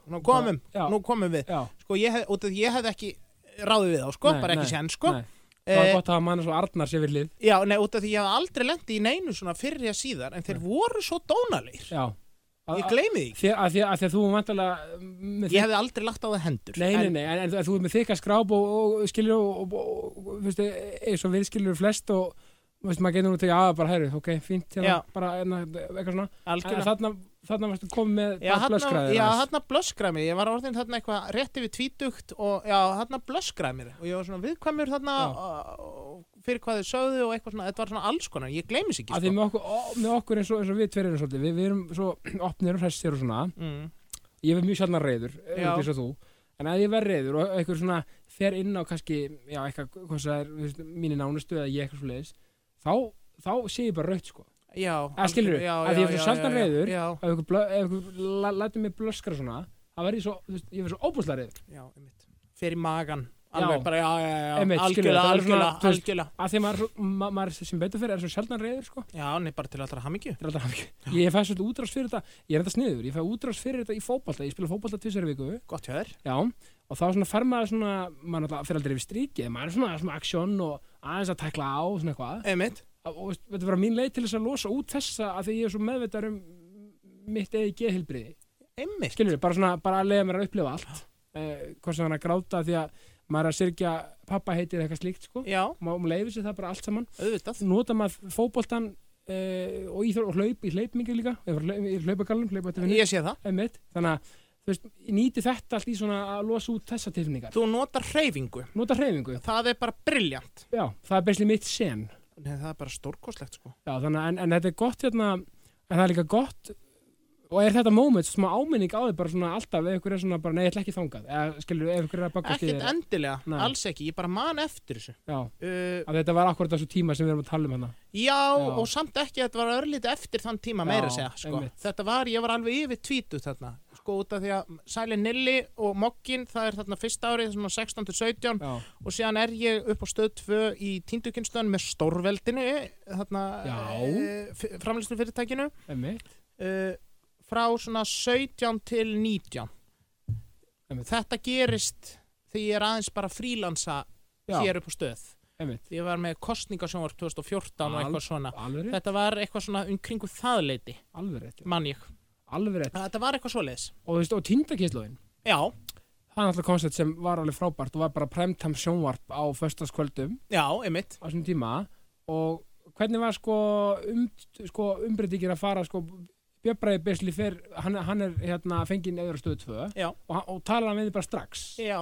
nú komum, Já. nú komum við já, sko ég hefði, út af því ég hefði ekki ráðið við þá sko, Nei, bara ekki nei, sér sko nei. Eh, Það var gott að hafa manna svo Arnar sér við hlið já, nei, út af því ég hefði aldrei lendi í neinu svona fyrir að síðar, en þeir voru svo dónalegir Já Að- ég gleymi því, að- Þér- að því að því að þú er vantarlega með ég hefði aldrei lagt á það hendur Nei, nei, en, nei, en, en, þú er með þykka skráp og, og skilur og, og, og, og veistu, eins og við skilur flest og veist, maður getur nú til að bara herri, ok, fínt, hérna, Já. bara hérna, eitthvað svona en, algjörlega þarna, þarna varstu komið með Já, þarna, blöskræði já, þarna blöskraði mér, ég var orðin þarna eitthvað rétt yfir tvítugt og já, þarna blöskraði mér og ég var svona viðkvæmur þarna og, fyrir hvað þið sögðu og eitthvað svona, þetta var svona alls konar, ég gleymis ekki að því sko. með okkur, ó, með okkur eins, og, eins og við tverir erum svolítið, við, við erum svo opnir og hressir og svona mm. ég verð mjög sjaldan reyður Já. eins og þú en að ég verð reyður og eitthvað svona fer inn á kannski, já, eitthvað hvað sem það er, þú veist, mínir nánustu eða ég eitthvað svo leiðis þá, þá sé ég bara raut sko Já, Eða skilurðu, algjörlega, já, að því ég já, er svo já, sjaldan já, já, reiður. Já, ef einhver, blö- ef einhver lætur mig blöskra svona þá verð ég svo, þú veist, ég verð svo óbúslega reyður já, einmitt Fyrir magan, Já. alveg bara, já, já, já, Einmitt, algjörlega, skilurðu, það er algjörlega, svona, þú veist- algjörlega að því að maður, er svo, ma maður sem betur fyrir er svo sjaldan reyður sko Já, nei, bara til allra hamingju Þetta er alltaf hamingju. ég fæ svolítið útrás fyrir þetta ég er þetta sniður, ég fæ útrás fyrir þetta í fótbolta ég spila fótbolta tvisar í viku Gott hjá þér Já, og þá svona fer maður svona, maður náttúrulega fyrir aldrei yfir strikið, maður er svona, svona aksjón og aðeins að tækla á og svona eitthvað. Einmitt, Og veist, þetta var mín leið til þess að losa út þessa að því ég er svo meðvitað um mitt eigi geðhilbriði. einmitt Skilur við, bara svona, bara að leiða mér að upplifa allt. Eh, hvort sem hann að gráta því að maður er að syrkja pappa heitir eitthvað slíkt, sko. Já, Má leiði sér það bara allt saman. auðvitað Nota maður fótboltan eh, og íþrótt og hlaup í hlaupmingi líka. Ég var í hlaupagallum, hlaupa eftir vinnu. Ég sé það Einmitt. Þannig að, þú veist, ég nýti þetta allt í svona að losa út þessa tilfinningar Þú notar hreyfingu nota hreyfingu, Það er bara briljant já, það er besli mitt sen Nei, það er bara stórkoslegt, sko já, þannig, að- en, en þetta er gott hérna en það er líka gott og er þetta moment, smá áminning á því bara svona alltaf ef ykkur er svona bara, nei, ég ætla ekki þangað eða skilur, ef ykkur er að bakast í ekkert þér endilega, Nei. alls ekki, ég bara man eftir þessu já, uh, að þetta var akkurat þessu tíma sem við erum að tala um hana já, og samt ekki að þetta var örlítið eftir þann tíma meira Já, að segja sko. einmitt. þetta var, ég var alveg yfir tvítu þarna sko, sko út af því að Sæli Nilli og Mokkin það er þarna fyrsta árið svona 16 til 17 já, og síðan er ég upp á stöð 2 í tíndukynstöðan með stórveldinu þarna Já. e, framlýstu fyrirtækinu emmitt e, frá svona 17 til 19 Einmitt. þetta gerist þegar ég er aðeins bara frílansa Já. hér upp á stöð emmitt, því ég var með kostningasjónvarp 2014 og Al- eitthvað svona alveg rétt, þetta var eitthvað svona umkringu þaðleiti alveg rétt mann ég, Eh, alveg rétt, þetta var eitthvað svoleiðis og þú veist, og tindakyslóðin já, það er alltaf koncept sem var alveg frábært og var bara premtam sjónvarp á föstaskvöldum já, einmitt á þessum tíma og hvernig var sko, um, sko umbreytingin að fara sko Björnbræði Bisli fyrr, hann, hann er hérna fenginn eður á stöðu 2 Já. og, hann- og talar hann við þig bara strax já,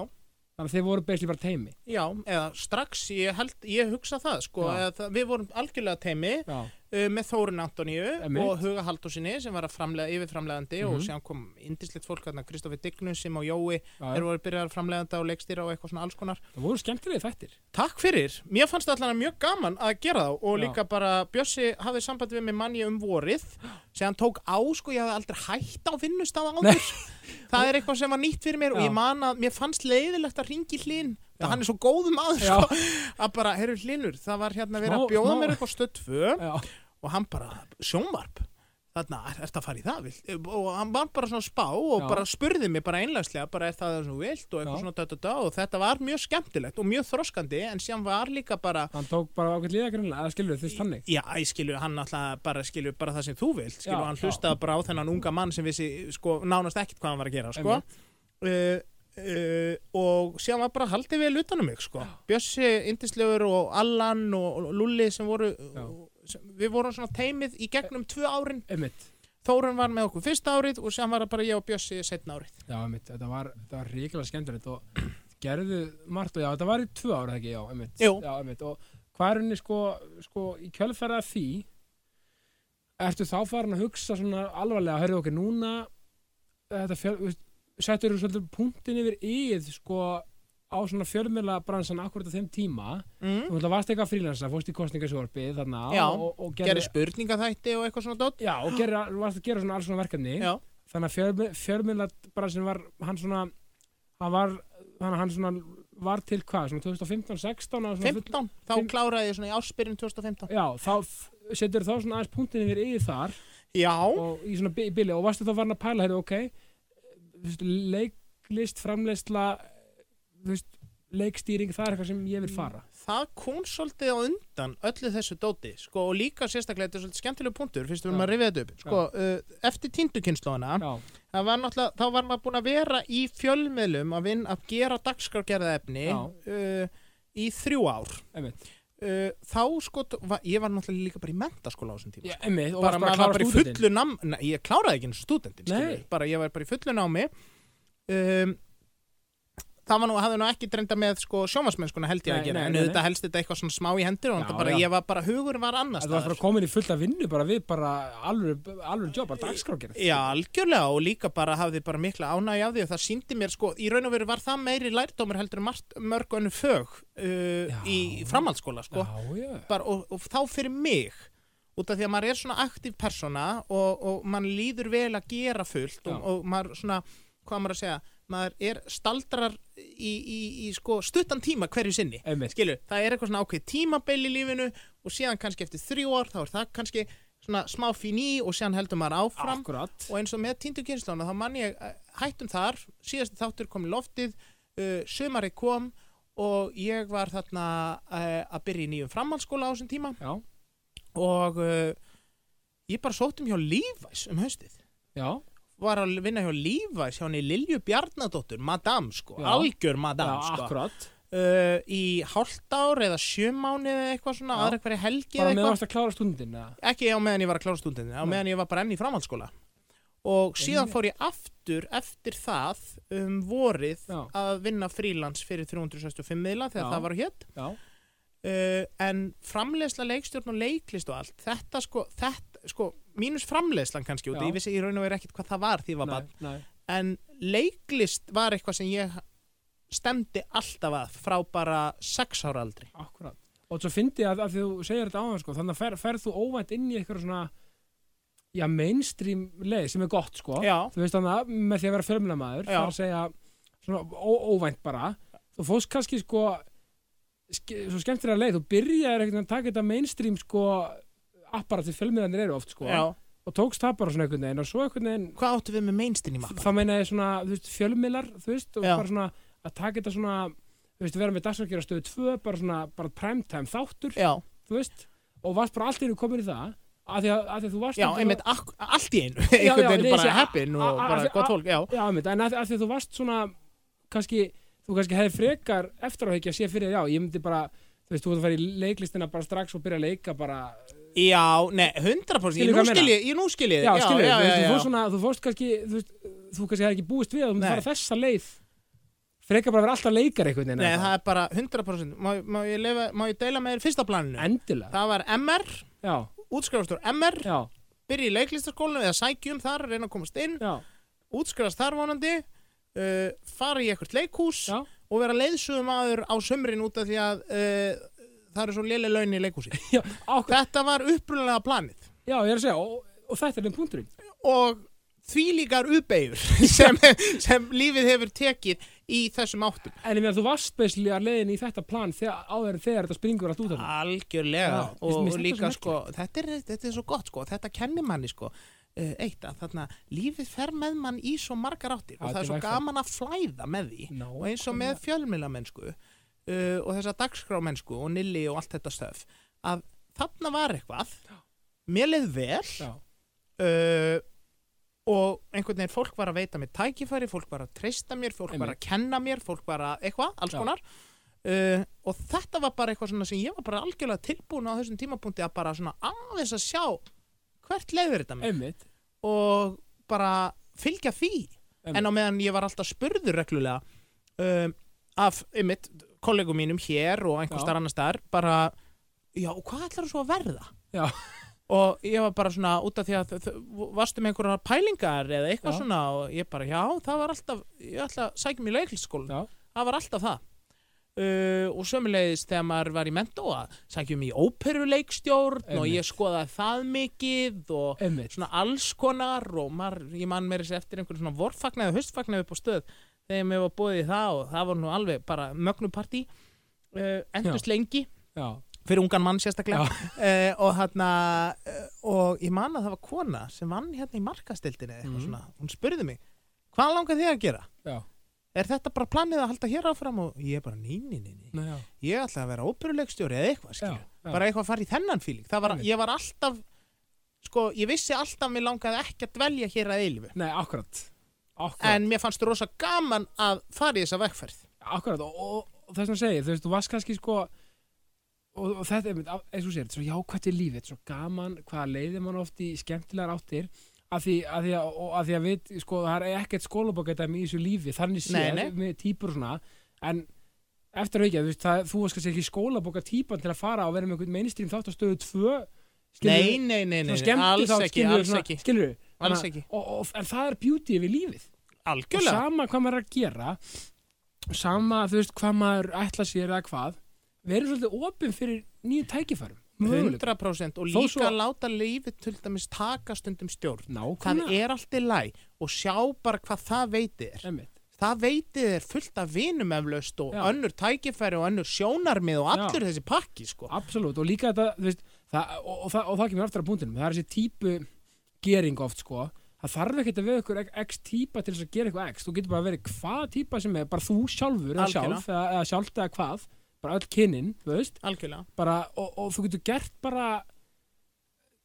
þannig að þeir voru Bisli bara teimi já, eða strax ég, held, ég hugsa það sko Já. eða það, við vorum algjörlega teimi já, uh, með Þórun Antoníu Einmitt. og Huga Haldósinni sem var að framlega yfirframlegandi og Mhm. síðan kom indislegt fólk hérna Kristofi Dignus sem á Jói já. þeir voru byrjað að framleganda og leikstýra og eitthvað svona alls konar það voru skemmtilegi þættir Takk fyrir, mér fannst allan mjög gaman að gera þá og Já. líka bara Bjössi hafði samband við mig manni um vorið sem hann tók á, sko, ég hafði aldrei hætt á vinnustafa áður það er eitthvað sem var nýtt fyrir mér og Já. ég man að mér fannst leiðilegt að ringi hlinn Já. það hann er svo góðum aður Já. sko, að bara, heyrðu hlinnur, það var hérna verið að Smá- bjóða smá- mér upp á stödd 2 já, og hann bara, sjónvarp þarna, er þetta að fara í það vill? og hann var bara svona að spá og Já. bara spurði mig bara einlægslega, bara er það það sem þú vilt og eitthvað Já. svona dötta dötta og þetta var mjög skemmtilegt og mjög þroskandi en síðan var líka bara hann tók bara ákveð liða grunlega, það skilur þess þannig Já, ég skilju, hann alltaf bara skilju bara það sem þú vilt, skilju, Já, hann já. hlustaði bara á þennan unga mann sem vissi, sko, nánast ekkit hvað hann var að gera, sko uh, uh, og síðan var bara haldið við utanum mig, sko, Bjössi Indislegur og Allan og og Lulli sem voru, sem, við vorum svona teimið í gegnum tvö árin emmitt, Þórun var með okkur fyrsta árið og sem var það bara ég og Bjössi setna árið. já emmitt, þetta var, þetta var ríkilega skemmtilegt og (clears throat) gerðu margt og já, þetta var í tvö ára ekki, já emmitt Jú. já, emmitt, og hvað er henni sko, sko í kjölferða því ertu þá farin að hugsa svona alvarlega, heyrðu okkur núna þetta fjöl, þú veist, settur þú svolítið punktin yfir íð sko á svona fjölmjöla bransan akkurat á þeim tíma Mm. þú ætla varst eitthvað frílansa, fórst í kostningasjórfið þarna Já, og, og, og Gerði gerði spurningaþætti og eitthvað svona dótt. já, og gerði, varst að gera svona alls svona verkefni Já, þannig að fjölmiðla bara sem var hann svona hann var, hann, hann svona var til hvað svona 2015-16 að svona 15. Þá fimm- kláraði ég svona í áspyrjun 2015. full- já þá f- setur þá svona aðeins punktin yfir yfir þar Já, og í svona bi- í bili og varstu þá farin að pæla hérna ok þú veist, leiklist framleysla veist, leikstýring það er eitthvað sem ég vil fara það kom svolítið á undan öllu þessu dóti, sko, og líka sérstaklega þetta er svolítið skemmtilega punktur, fyrst við erum Já. að rifja þetta upp. Sko, uh, eftir tíndukynnslóðana, já, það var náttúrulega, þá var maður búin að vera í fjölmiðlum að vinna að gera dagskrárgerða efni Já. uh, í þrjú ár. einmitt, Uh, þá, sko, t- va- ég var náttúrulega líka bara í mentaskóla á þessum tíma, sko. já, einmitt og bara maður varstu að var klára bara í stúdentinn. fullu nám Nei, ég kláraði ekki einu stúdentin skilur Nei. við. bara, ég var bara í fullu námi um, það var nú, hafði nú ekki dreynda með sko, sjónvarsmennskuna held ég Nei, að gera nei, en nei, auðvitað helst þetta eitthvað svona smá í hendur og Já, já, bara, já. ég var bara, hugur var annars Þetta var bara staðar. komin í fulla vinnu bara við bara alveg, alveg jobb, bara dagskrákir Já, algjörlega og líka bara hafði bara mikla ánægja af því og það síndi mér sko, í raun og veru var það meiri lærdómur heldur en margt, mörg önnu fög uh, Já. í framhaldsskóla sko. já, já. bara, og, og þá fyrir mig út af því að maður er svona aktív persóna og, og mann líður vel að gera fullt og, Já. og maður svona, hvað á maður að segja maður er staldrar í, í, í sko stuttan tíma hverju sinni einmitt, skilu, það er eitthvað svona ákveð tímabil í lífinu og síðan kannski eftir þrjú ár þá er það kannski svona smá fín í og síðan heldur maður áfram akkurat og eins og með týndu kynnslóna þá mann ég eh, hættum þar, síðasti þáttur kom í loftið uh, sömari kom og ég var þarna uh, að byrja í nýjum framhaldsskóla á þessum tíma já, og uh, ég bara sótt um hjá Lífæs um haustið já var að vinna hjá Lífæs hjá henni Lilju Bjarnadóttur, madam sko Já. algjör madam Já, sko akkurat uh, í hálft ár eða sjömáni eða eitthvað svona, Já. aðra hverja helgi eða Bara með eitthvað. varst að klára stundin eða? ekki á meðan ég var að klára stúndinni á Nei. meðan ég var bara enn í framhaldsskóla og síðan fór ég aftur eftir það um vorið Já. að vinna frílans fyrir 365 miðla þegar Já. það var hér Já, uh, en framleiðsla leikstjórn og leiklist og allt þetta sko, þetta, sko mínus framleiðslan kannski út, Já. ég vissi í raun og verið ekkit hvað það var því ég var nei, bara, nei en leiklist var eitthvað sem ég stemdi alltaf að frá bara 6 ára aldri Akkurat Og svo fyndi ég að, að því þú segir þetta áðan sko Þannig að fer, ferð þú óvænt inn í eitthvað svona já, mainstream leið sem er gott sko já, þú veist þannig að með því að vera Já. fjölmjölamæður það að segja svona ó, óvænt bara þú fórst kannski sko ske, svo skemmtir að leið, þú byrjaðir einhvern veginn að taka þetta mainstream sko apparat því fjölmjölanir eru oft sko já. og tókst það bara svona einhvern veginn og svo einhvern veginn Hvað áttu við með mainstream mappa? þá meina ég svona, þú veist, fjölmiðlar þú veist, og Já. bara svona að taka þetta svona þú veist, vera með dagsakera stöðu 2 bara svona, bara primetime þáttur Já, þú veist, og varst bara allt í einu komin í það að því að, að því að þú varst já, náttúrulega- einmitt ak- allt í einu einhvern já, veginn nei, ég bara segi, heppin a- og a- bara a- gott a- fólk, já Já, einmitt, en að, að því að þú varst svona kannski, þú kannski hefði frekar eftir á ekki að sé fyrir þér, já, ég myndi bara þú veist, þú voru að fara í leiklistina bara strax og byrja að leika bara, Já, nei, 100% Ég Skilur hvað nú ég meina? skil ég, ég nú skil ég já, já, skilur, þú já, veist, þú já, fórst um svona, þú fórst kannski þú, veist, þú kannski hefði ekki búist við að þú myndi Nei. fara þessa leið frekar bara að vera alltaf leikar einhvern veginn Nei, eða það er bara 100% Má, má, ég, lefa, má ég deila með þér fyrsta planinu? endilega, Það var MR, já, útskrifastur MR já, Byrja í leiklistaskólanum eða sækjum þar reyna að komast inn, já útskrifast þar vonandi uh, fara í eitthvað leikhús Já. og vera leiðsögum aður á sömrin út af því að uh, það eru svo léleg laun í (laughs) leikhúsi já, ákveð, Þetta var upprunalega planið já, ég er að segja og, og þetta er þeim punkturinn og því líkar (laughs) uppeyður sem, sem lífið hefur tekið í þessum áttum en ég meðan þú varst speslega leiðin í þetta plan þegar, áður en þegar þetta springur allt út Ah. af Algjörlega Já, og, mér og finnst þetta líka svo sko þetta er, þetta er svo gott sko, þetta kennir manni sko eh, eitt að þarna lífið fer með mann í svo margar áttir og Já, það er svo þetta er gaman að flæða með því Ná, og eins og með fjölmilamennsku uh, og þessa dagskrámennsku og nilli og allt þetta stöf að þarna var eitthvað mér leið vel já, uh, og einhvern veginn fólk var að veita mér tækifæri, fólk var að treysta mér fólk var að kenna mér, fólk var að eitthvað, alls Já. konar uh, og þetta var bara eitthvað svona sem ég var bara algjörlega tilbúin á þessum tímapunkti að bara svona aðeins að sjá hvert leiður þetta mér einmitt og bara fylgja því Einmitt. en á meðan ég var alltaf spurður reglulega um, af einmitt, kollegum mínum hér og einhvers Já. þar annars þar bara, já, hvað ætlar þú svo að verða? já, og ég var bara svona út af því að þau- þau- varstu með einhverjar pælingar eða eitthvað Já. svona og ég bara já það var alltaf, ég ætla að sækja mér leiklistaskólan, já, það var alltaf það uh, og sömulegis þegar maður var í mentó að sækja mér í óperuleikstjórn og Einmitt. ég skoðaði það mikið og einmitt svona alls konar og maður, ég man meira sér eftir einhvern svona vorfagnaði og höstfagnaði upp á stöð þegar mér var búið í það og það var nú alveg bara mögnupartí uh, endust lengi já, fyrir ungan mann sérstaklega (laughs) uh, og hérna uh, og ég man að það var kona sem vann hérna í markastildinni eitthvað Mhm. svona, hún spurði mig hvað langar þið að gera? já, Er þetta bara planið að halda hér áfram og ég er bara neini, neini, Nei, já, ég ætla að vera óperuleikstjóri eða eitthvað, já, skilju, já. bara eitthvað að fara í þennan fíling, það var, Einmitt. ég var alltaf sko, ég vissi alltaf að mér langaði ekki að dvelja hér að eilífu, Nei, akkurat Akkurat, en mér fannst rosa gaman að fara í þessa vegferð akkurat og, og, og þess að segja, þú veist, þú varst kannski sko og, og þetta er, mynd, eins og sér, þetta er svo jákvætt í lífið, þetta er svo gaman hvaða leiðir mann oft í skemmtilegar áttir að því að, því að, og að, því að við, sko, það er ekkert skólabókætæmi í þessu lífi, þannig sé Nei, nei. með típur og svona, en eftir aukja, þú veist, það, þú varst kannski ekki skólabóka típan til að fara og vera með einhvern mainstream þátt á stöðu 2 nei, nei, nei, nei, Svona nei, skemmti alls þá, ekki, skilur, alls svona, ekki skilur, Alls ekki. og, og, En það er beauty við lífið Og algjörlega, sama hvað maður er að gera Sama, þú veist, hvað maður ætla sér eða hvað Verður svolítið opinn fyrir nýju tækifærum möguleikum. 100% og Þó líka svo- láta lífið til dæmis taka stundum stjórn það Nákvæmlega er allt í læ og sjá bara hvað það veitir Einmitt. það veitir er fullt af vinum eflaust og Já. önnur tækifæri og önnur sjónarmið og allur þessi pakki sko Absolutt, og líka þetta, þú veist það, og, og, það, og það kemur aftur að búndinum Það er þessi típu gering oft, sko Það þarf ekkert að vera ykkur x típa til þess að gera eitthvað x Þú getur bara að vera hvað típa sem er Bara þú sjálfur eða Algjörlega. sjálf eða, eða sjálft eða hvað Bara öll kynin, þú veist algjörlega, bara, og, og þú getur gert bara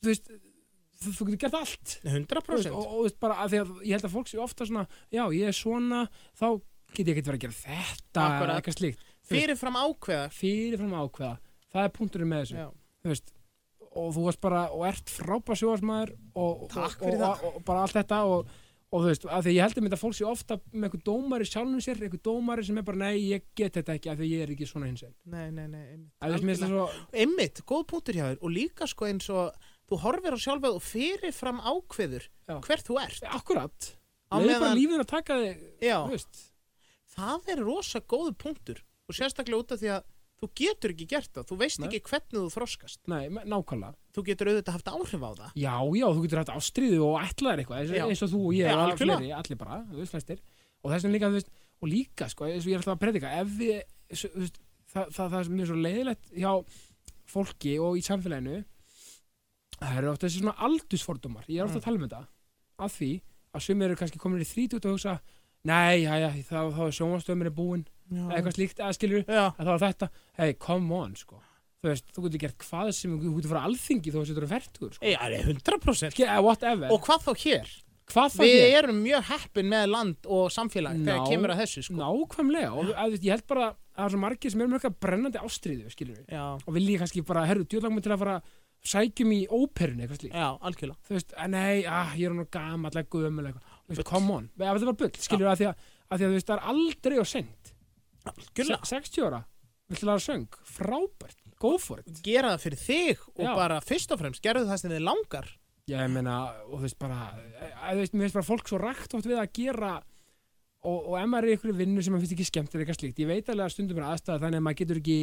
þú veist þú, þú getur gert allt Þú veist, 100% og, og þú veist, bara að því að ég held að fólk sé ofta svona já ég er svona þá get ég ekkert verið að gera þetta Akkurat. eða eitthvað slíkt fyrirfram ákveða fyrirfram ákveða það er punkturinn með þessu Já. þú veist og þú varst bara og ert frábær sjóðarsmaður og, og, Takk og, fyrir og, og, bara allt þetta og, og þú veist, af því að ég held að mynda fólk sé ofta með einhver dómari sjálfum sér, einhver dómari sem er bara nei, ég get þetta ekki af því að ég er ekki svona hins einn nei, nei, nei, einmitt. að þú veist, mér finnst Algjörlega. það svo, einmitt, góð punktur hjá þér og líka sko eins og þú horfir á sjálfað og fyrirfram ákveður Já. hvert þú ert akkurat Á Leðu bara meðan- lífinu að taka þig Já. þú veist það er rosa góðu punktur og sérstaklega út af því að þú getur ekki gert það, þú veist Nei. ekki hvernig þú þroskast Nei, me- nákvæmlega þú getur auðvitað haft áhrif á það Já, já, þú getur hægt ástriðu og ætlaðir eitthvað eins, Já. eins og þú og ég Já, og algjörlega. fleiri, allir bara, þú veist flestir og þessum líka, þú veist, og líka sko, eins og ég er alltaf að predika ef við, s- þú veist, það, það, það er mjög svo leiðilegt hjá fólki og í samfélaginu það eru ofta þessi svona aldursfordómar ég er Mm. ofta að tala um þetta, að því að sumir eru kannski komin í þrítút og hugsa nei, já, já, þá, þá er sjónvastöðumir er búin Mm. eitthvað slíkt, að skilur Já, að það var þetta, hey, come on sko. þú veist, þú getur gert hvað sem þú getur fara alþingi þó að þetta eru verður sko. Já, það er 100% Ske- eða whatever, Og hvað þá hér? hvað það Við er erum mjög heppin með land og samfélag Ná. þegar kemur að þessu sko. nákvæmlega og að, þú veist, ég held bara að það er svo margir sem eru með eitthvað brennandi ástriðu skilur við, Já, og vil ég kannski bara herru, djúðlangum til að fara sækjum í óperunni eitthvað slíkt, já, algjörlega þú veist, að nei, ah, ég er nú gamall, að gömul eitthvað, þú veist, come on eða þetta var bull, skilur við, að því að, að því að þú veist, það er aldrei og sent, Se- Algjörlega 60 ára, viltu laga söng frábært, go for it Gera það fyrir þig og Já. bara fyrst og fremst gerðu það sem þið langar Já, ég meina, og þú veist bara að, þú veist, mér finnst bara fólk svo rækt átt við að gera og, og ef maður er í ykkur vinnu sem maður finnst ekki skemmt er eitthvað slíkt, ég veit alveg að stundum er aðstæða þannig að maður getur ekki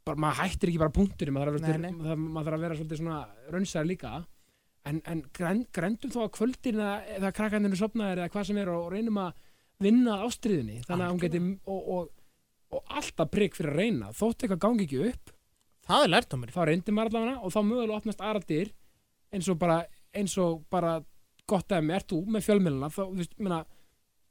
bara, maður hættir ekki bara punkturinn, maður þarf að vera, Nei, nei. maður þarf- maður þarf að vera svolítið svona raunsar líka en, en græn, grændum þá að kvöldin eða, eða krakkandinu sopnaðir eða hvað sem er og reynum að vinna að ástriðinni þannig að hún geti og, og, og alltaf prigg fyrir að reyna þótt eitthvað gangi ekki upp Það er lærtómur þá reyndi maður allavega og þá mögulega opnast aðrar dyr eins og bara, eins og bara gott að með, ert þú með fjölmiðluna þá, þú veist, meina,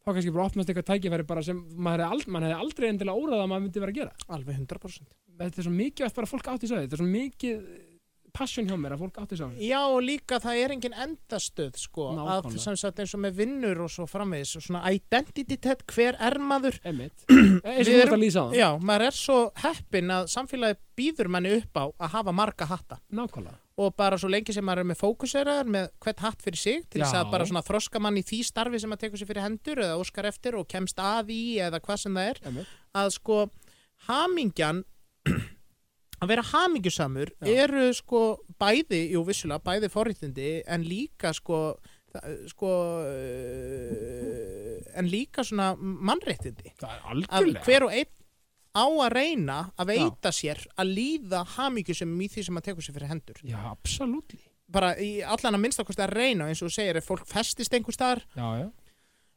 þá kannski bara opnast eitthvað tækifæri bara sem maður hefði, ald, maður hefði aldrei endilega óræða að maður myndi vera að gera Alveg 100% þetta er svo mikið að bara að fólk átti sig á því þetta er svo mikið eh, passion hjá mér að fólk átti sig á því Já, og líka það er engin endastöð sko, að Nákvæmlega. sem sagt eins og með vinnur og svo framvegis og svona identity tett, hver er maður (clears throat) einmitt, Eh, Við eins og þú ert erum- að lýsa á það Já, maður er svo heppin að samfélagi býður manni upp á að hafa marga hatta nákvæmlega, og bara svo lengi sem maður er með fókuseraðar með hvert hatt fyrir sig til þess Já. að bara svona þroska mann í því starfi sem maður tekur sér fyrir hendur eða óskar eftir og kemst að í eða hvað sem það er einmitt, að sko hamingjan (clears throat) að vera hamingjusamur Já. eru sko bæði, jú vissulega bæði forréttindi en líka sko það- sko eh, en líka svona mannréttindi það er að algjörlega hver og einn á að reyna að veita sér að líða hamingjusum í því sem maður tekur sér fyrir hendur já, absolutt bara í allan að minnstakosti að reyna eins og þú segir ef fólk festist einhver staðar já, já,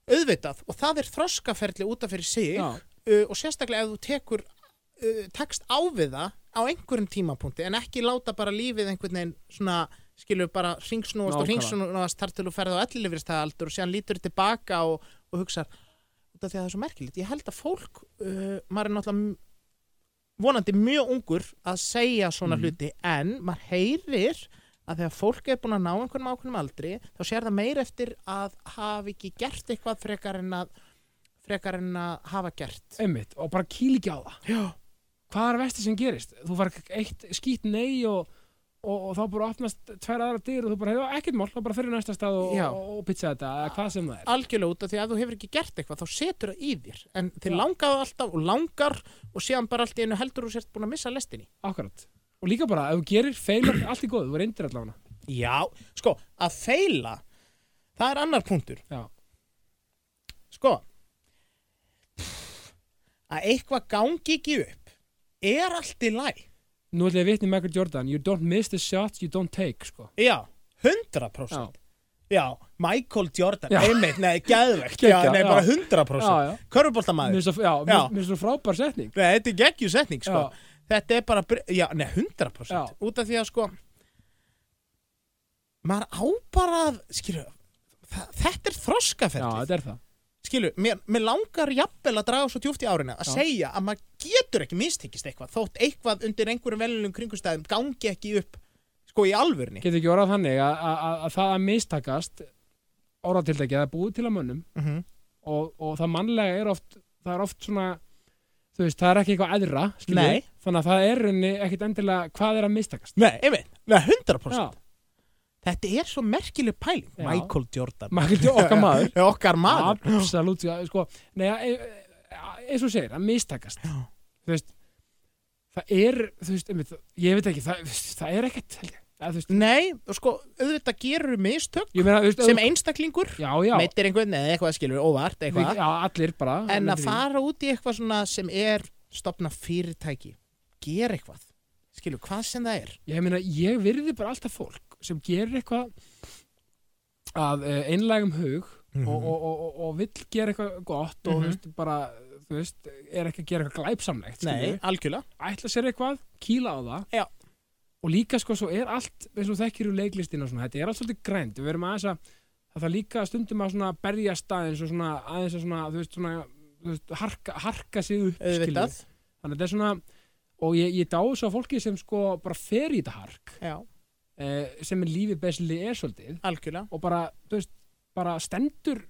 auðvitað og það er þroskaferli útaf fyrir sig já, uh, og sérstaklega ef þú tekur uh, tekst á við það á einhverjum tímapunkti en ekki láta bara lífið einhvern veginn svona skilur bara ringsnúast og Nákvæmlega. ringsnúast þar til þú ferð á ellilifirstæðaldur og síðan lítur tilbaka og, og hugsar út af því að það er svo merkilegt ég held að fólk, uh, maður er náttúrulega m- vonandi mjög ungur að segja svona Mhm. hluti en maður heyrir að þegar fólk er búin að ná einhvernum ákveðnum aldri þá sér það meir eftir að hafi ekki gert eitthvað frekar en að frekar en að hafa gert einmitt og bara kýl ekki á það Já, hvað er vestið sem gerist? Þú far eitt skýt nei og, og, og þá bara opnast tvær aðra dyr og þú bara hefur ekkert mál, þá bara fyrir næsta stað og, Já. og, og pizza þetta, eða hvað sem það er. algjörlega út af því að ef þú hefur ekki gert eitthvað þá setur það í þér en þið Já. langaðu alltaf og langar og síðan bara allt í einu heldur og sért búin að missa lestinni Akkurat. Og líka bara, ef þú gerir feilar, allt í góð, þú reyndir allavega. Já, sko, að feila það er annar punktur Já. sko að eitthvað gangi ekki upp er allt í læg Nú ætla ég að vitni Michael Jordan, you don't miss the shots you don't take, sko. Já, 100% Já, Já, Michael Jordan, Já. einmitt, nei, geðvegt Geggjað, Já, nei, já. bara Já, 100% já. mér Körfuboltamaður, finnst það- já, mér- Já. mér finnst það frábær setning. nei, þetta er geggjusetning sko. Já. Þetta er bara, br- já, nei, 100% Já. Út af því að sko maður á bara að, skilju þa- þetta er Já, þroskaferðlið þetta er það. skilu, mér, mér langar jafnvel að draga svo djúft í árina að Já. segja að maður getur ekki mistekist eitthvað þótt eitthvað undir einhverjum velunum kringustæðum gangi ekki upp sko í alvörni Getur ekki orðað þannig að, að, að- að það að mistakast orðatildækið, það er búið til að mönnum mm -hmm. og, og það mannlega er oft það er oft svona þú veist, það er ekki eitthvað aðra skilur, Nei. við. þannig að það er raunni ekkit endilega hvað er að mistakast Nei, einmitt, Nei, 100% Já, Þetta er svo merkileg pæling Já. Michael Jordan maður getur okkar maður Já, (laughs) Okkar maður absolutt, já, sko nei, ja, e- e- eins og þú segir, að mistakast Já. þú veist það er, þú veist, einmitt, ég veit ekki það, það er ekkert, held ég að, þú veist, Nei, og sko, auðvitað gerur mistök ég meina, þú veist sem ef- einstaklingur já, já, meitir einhvern eða eitthvað skilur óvart við, eitthvað já, allir en bara myndir að við. fara út í eitthvað svona sem er stopna fyrirtæki gera eitthvað skilur, hvað sem það er Ég meina, ég virði bara alltaf fólk sem gerir eitthvað að eh, einlægum hug og, og, og, og, og vill gera eitthvað gott og Mhm. þú veist, bara, þú veist, er ekki að gera eitthvað glæpsamlegt, Nei, skilurðu. algjörlega ætla sér eitthvað, kýla á það Já. og líka sko, svo er allt eins og þekkir úr leiklistina og svona, þetta er allt svolítið grænt við verum aðeins að það þarf líka stundum að svona berjast aðeins og svona aðeins að svona, þú veist, svona þú veist, harka, harka sig upp, skilurðu. auðvitað þannig að þetta er svona og ég, ég dáu svo að fólki sem sko bara fer í þetta hark Já, eh, sem er lífið besli er svolítið algjörlega og bara, þú veist, bara stendur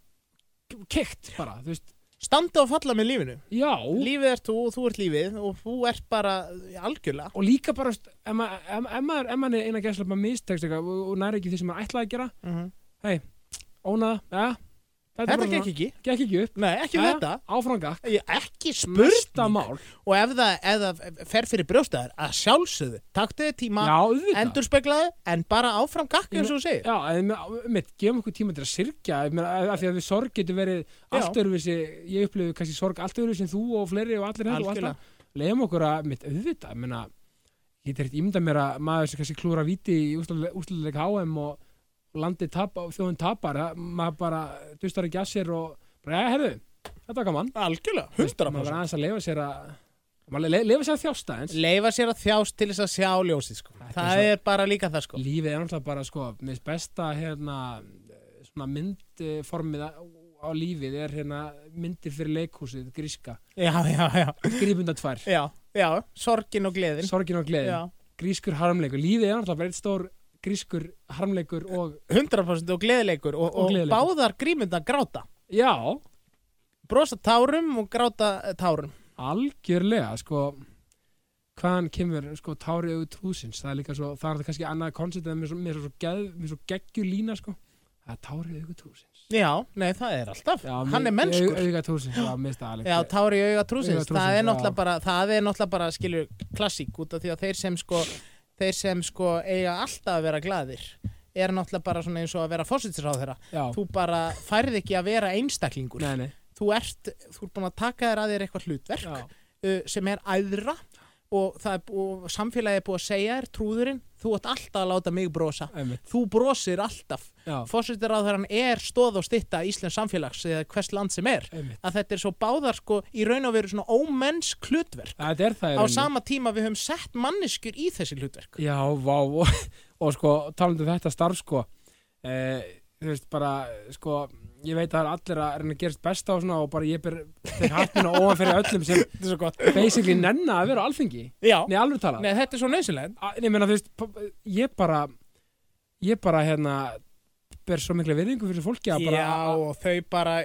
keikt bara, þú veist Standa og falla með lífinu já, Lífið ert þú og þú ert lífið og þú ert bara algjörlega og líka bara þú veist, ef ma- ef- ef maður ef maður er eina gæsla bara mistekst eitthvað sko, og, og næri ekki því sem maður ætlaði að gera ónaða, ja, Mhm. þetta, Þetta gekk ekki ekki gekk ekki upp, Nei, ekki með Jæja. þetta áfranga Ég- Ekki bursta spurning mál, Og ef það, ef það fer fyrir brjóstaðar að sjálfsögðu Taktu þið tíma, já, auðvitað endurspeglaðu en bara áfram gakk Ég eins og þú segir Já, en með- mitt, gefum okkur tíma til að syrkja ég meina, af því að við sorg getur verið allt Já. öruvísi, ég upplifði kannski sorg allt öruvísi en þú og fleiri og allir hérna og Algjörlega. alltaf leiðum okkur að, mitt, auðvitað ég meina, ég get ekkert ímyndað mér að maður sem kannski klúra víti í úsluleik HM og landi tap, og þjóðin tapar, það- maður bara dustar ekki að sér og bara, ja, herðu, þetta var gaman Algjörlega, maður verður aðeins að leifa sér að maður le- leifa sér að þjásta eins Leifa sér að þjást til þess að sjá ljósið sko. Þetta er Það svo- er bara líka það sko. lífið er náttúrulega bara sko með besta hérna eh, svona myndformið á á lífið er hérna myndir fyrir leikhúsið gríska, Já, já, já grípunda tvær Já, já, sorgin og gleðin sorgin og gleðin, Já, grískur harmleikur lífið er náttúrulega bara eitt stór grískur harmleikur og, 100% og gleðileikur og, Og og, gleðileikur. báðar grímynda gráta já Brosa tárum og gráta eh, tárum algjörlega sko hvaðan kemur sko tárið auðvitað trúðsins, það er líka svo, það er þetta kannski annað koncept en mér svo, mér svo, geð, mér svo geggjur lína sko, það er tárið auðvitað trúðsins Já, nei, það er alltaf já, Hann er mennskur auðvitað trúðsins, já, mista alveg Já, tári í auga trúsins, Auga trúsins, það er náttúrulega já. bara, það er náttúrulega bara, skilur, klassík út af því að þeir sem sko, þeir sem sko eiga alltaf að vera gladir er náttúrulega bara svona eins og að vera fósitsráð þeirra. já, Þú bara færð ekki að vera einstaklingur. nei, nei, Þú ert, þú ert búin að taka þér að þér eitthvað hlutverk já. uh, sem er æðra og, það er, bú- og samfélagið er búið að segja þér, trúðurinn, þú ert alltaf að láta mig brosa. Einmitt, Þú brosir alltaf. já, Fósitsráðherran er stóð og stitta Íslands samfélags eða hvers land sem er einmitt. að þetta er svo báðar sko í raun og veru svona ómenns hlutverk Þetta er það í á rauninni. sama tíma við höfum sett manneskjur í þessi hlutverk Já, vá, og, og sko, talandi um þetta starf sko, e, þú veist bara, sko, ég veit að það er allir að reyna að gerast besta og svona og bara ég ber þeir hattinu ofan fyrir öllum sem Þetta er svo gott basically nenna að vera á alþingi, Já, nei alveg talað. nei, þetta er svo nöðsynlega A- Nei, menna, þú veist, p- ég bara, ég bara hérna, ber svo mikla virðingu fyrir fólki að bara, Já, og þau bara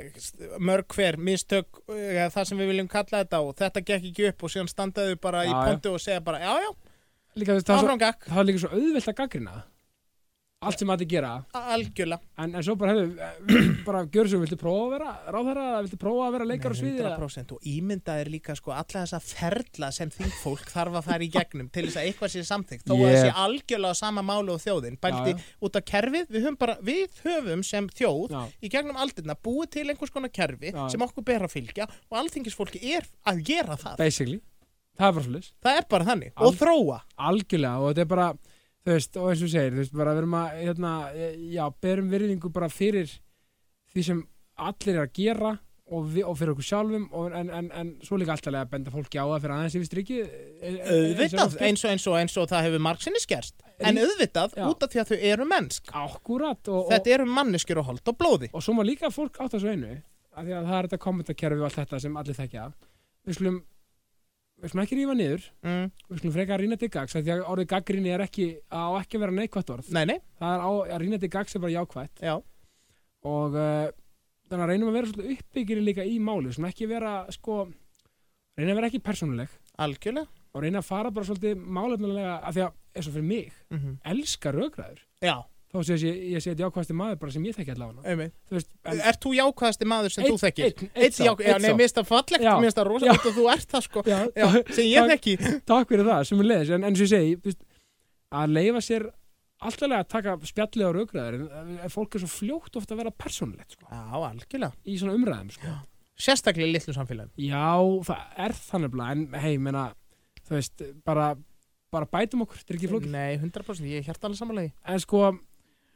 mörg hver mistök eða, það sem við viljum kalla þetta og þetta gekk ekki upp og síðan standaðu bara í Já, já. pontu og segja bara já, já, líka þú veist, það er, áfram gakk svo, það er líka svo auðvelt að gaggrina, allt sem að þetta gera. algjörlega En, en svo bara hefðu, (clears throat) bara gjör svo, viltu prófa að vera ráðherra, viltu prófa að vera leikar á sviði? eða- 100% og ímyndað er líka sko alla þessa ferla sem þingfólk þarf að fara í gegnum til þess að eitthvað sé samþykkt þó að Ég- það sé algjörlega á sama málu og þjóðin bælti Já, út af kerfið, við höfum bara við höfum sem þjóð Já, í gegnum aldirna búið til einhvers konar kerfi Já. sem okkur ber að fylgja og alþingisfólki er að gera það basically. Það er bara svolítið. það er bara þannig Al- og þróa Algjörlega og þetta er bara, þú veist, og eins og þú segir, þú veist, bara verum að, hérna, e- já, berum virðingu bara fyrir því sem allir er að gera og, vi, og fyrir okkur sjálfum og, en, en, en svo líka alltaf að benda fólki á það fyrir aðeins yfir e- strikki. auðvitað eins og eins og eins og það hefur margsinni skerst en Rík- auðvitað Já. út af því að þau eru mennsk Akkurat og, og, þetta eru manneskjur og hold og blóði og svo má líka fólk átt að svo einu af því að það er þetta kommentarkerfi og allt þetta sem allir þekkja. Við skulum, við skulum ekki rífa niður mm. við skulum frekar að rýna til gags af því að orðið gaggrinni er ekki á ekki að vera neikvætt orð nei, nei, það er á, að rýna til gags er bara jákvætt já og uh, þannig að reynum að vera svolítið uppbyggir líka í máli, svona ekki vera sko, reyna að vera ekki persónuleg algjörlega og reyna að fara bara svolítið málefnilega af því að, eins og fyrir mig, mm elska rökræður já, þá sé ég, ég sé þetta jákvæðasti maður bara sem ég þekki allavega einmitt þú veist, en- Ert þú jákvæðasti maður sem þú Einn- þekkir? einn- einn Eitt sá, jákvæðasti, já, einn nei, sá. mér finnst það fallegt, Já. mér finnst það rosalegt og þú ert það sko Já, Já, sem ég takk- þekki takk fyrir það, sem við leiðis en eins og ég segi, þú veist, að leifa sér alltaf að taka spjallið á rökræður en eh, fólk er svo fljótt ofta að vera persónulegt sko, Já, algjörlega í svona umræðum sko. Sérstaklega í litlu samfélagum Já, það er þannig bara, en hei, menna, þú veist, bara, bara bætum okkur, þetta er ekki flókið Nei, 100% ég er hjartalega samanlegi en sko uh,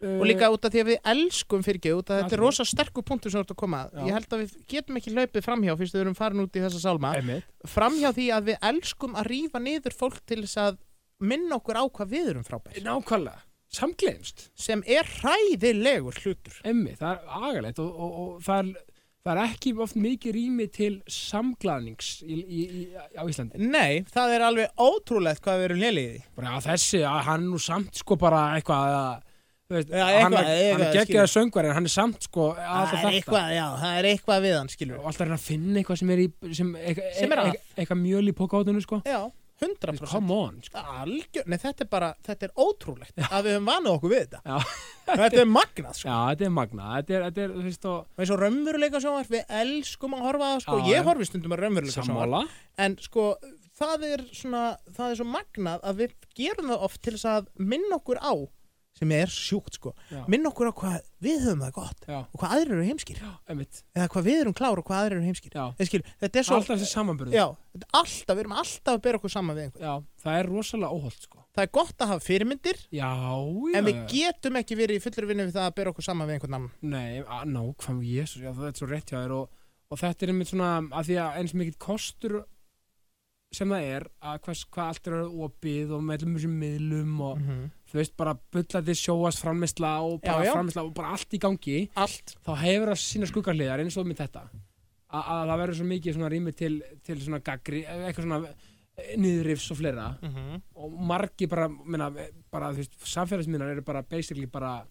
og líka út af því að við elskum fyrirgjöf út af þetta er Algjörlega. rosa sterkur punktur sem þú ert að koma að Já. ég held að við getum ekki hlaupið framhjá fyrst við erum farin út í þessa sálma eh, einmitt, framhjá því að við elskum að rífa niður fólk til þess að minna okkur á hvað við erum frábær nákvæmlega, samgleimst sem er hræðilegur hlutur Emmi, það er agalegt og, og, og það, er, það er ekki oft mikið rými til samglaðnings í, í, í, á Íslandi. Nei, það er alveg ótrúlegt hvað við erum léliði Bara að þessi, að hann nú samt sko bara eitthvað að, þú veist, Já, hann, eitthvað, er- hann eitthvað, er geggjaði söngvar en hann er samt sko alltaf Það er þetta. eitthvað, já, það er eitthvað við hann, skilur Og alltaf er hann að finna eitthvað sem er í, sem, eitthvað, Sem er að. eitthvað, eitthvað mjöl í pokaótunum sko. Já, 100% Come on, sko. Algjör, nei þetta er bara, þetta er ótrúlegt að við höfum vanað okkur við þetta Já. Þetta er magnað, sko Já, þetta er magna, þetta er, þetta er, þú veist, og eins og raunveruleika sjónvarp, við elskum að horfa að það, sko, Já, já. ég horfi stundum að raunveruleika sjónvarp sammála. en sko, það er svona það er svo magnað að við gerum það oft til þess að minna okkur á sem er sjúkt sko, Já. minna okkur á hvað við höfum það gott Já, og hvað aðrir eru heimskir emmitt, eða hvað við erum klár og hvað aðrir eru heimskir já. Eða skilur, þetta er svo, Alltaf þessi samanbyrðu. já, þetta er alltaf, við erum alltaf að bera okkur saman við einhvern Já, það er rosalega óholt sko. það er gott að hafa fyrirmyndir Já, já. en við já. getum ekki verið í fullur vinnu við það að bera okkur saman við einhvern annan Nei, að- nákvæm, jésus, já, það er svo rétt hjá þér og, og þetta er einmitt svona að því að eins mikill kostur sem það er að hvers, hvað allt er orðið opið og með allum þessum miðlum og Mhm. þú veist bara bullandi sjóast frammeysla og bara Mm. Já, já. frammeysla og bara allt í gangi allt, þá hefur það sína skuggarliðar eins og með þetta A að það verður svo mikið svona rými til, til svona gaggri, eitthvað svona eh, niðurrifs og fleira Mhm. og margi bara, minna, bara þú veist, samfélagsmiðnar eru bara basically bara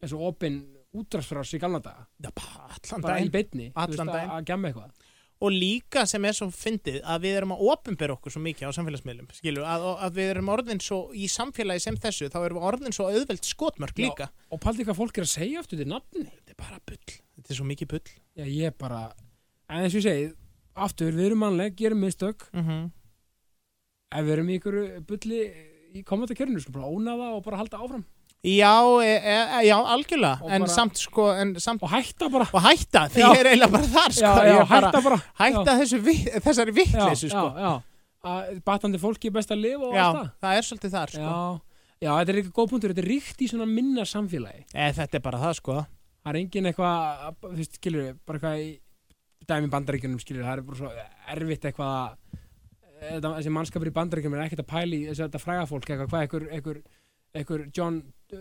eins og opin útrásfrás í gamla daga Já, bara allan bara í daginn beinni þú Allan veist, að- daginn. að gemma eitthvað og líka sem er svo fyndið að við erum að opinbera okkur svo mikið á samfélagsmiðlum skilur, að, að við erum orðin svo í samfélagi sem þessu, þá erum við orðin svo auðveld skotmörk Já. líka og paldi hvað fólk er að segja aftur til nafni þetta er bara bull, þetta er svo mikið bull já ég er bara, en eins og ég segi aftur, við erum mannleg, gerum mistök mm -hmm. ef við erum í ykkur bulli í komandi kjörinu, sko, bara ónaða og bara halda áfram já, e, e, e, já, algjörlega Og en bara- samt sko, en samt og hætta bara, og hætta, því Já. ég er eiginlega bara þar (laughs) sko, ég já, já, er bara, hætta bara hætta þessu, vi- þessari já, vitleysu sko. já, já, að batandi fólki er best að lifa og já, allt það það er svolítið þar sko. já, já, þetta er eitthvað góð punktur þetta er ríkt í svona minna samfélagi e, þetta er bara það sko það er engin eitthvað, þú veist, skilur bara eitthvað í dæmi bandaríkjunum skilur, það er bara svo erfitt eitthvað að- þetta, þessi mannskapur í bandaríkjunum er ekkert að pæli þess að þetta fræga fólk eitthvað, hvað einhver, einhver, einhver John uh,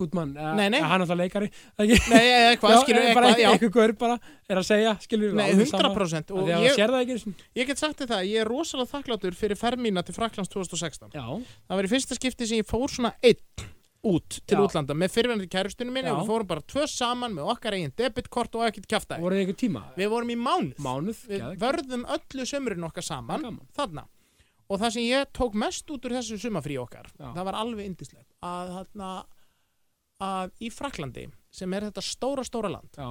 Goodman, eða- Nei, nei. eða hann er það leikari ekki, nei, e, eitthvað, skilur, já, eh, eitthvað, bara já einhver gaur bara er að segja, skilur Nei, 100% og og ég ég, sér það ekki einu sinni. ég get sagt þér það, ég er rosalega þakkláttur fyrir fermína til Fraklands 2016 já, Það var í fyrsta skipti sem ég fór svona einn út til Já. útlanda með fyrirvenandi kærustunum minni Já. og við fórum bara tvö saman með okkar eigin debitkort og ekkert kjaftaði. voruð þið einhver tíma Við vorum í mánuð. mánuð, Við geðveikt. vörðum öllu sömurinn okkar saman Gaman. þarna. Og það sem ég tók mest út úr þessu sumafrí okkar, Já. það var alveg indislegt, að, þarna, að í Fraklandi, sem er þetta stóra, stóra land já,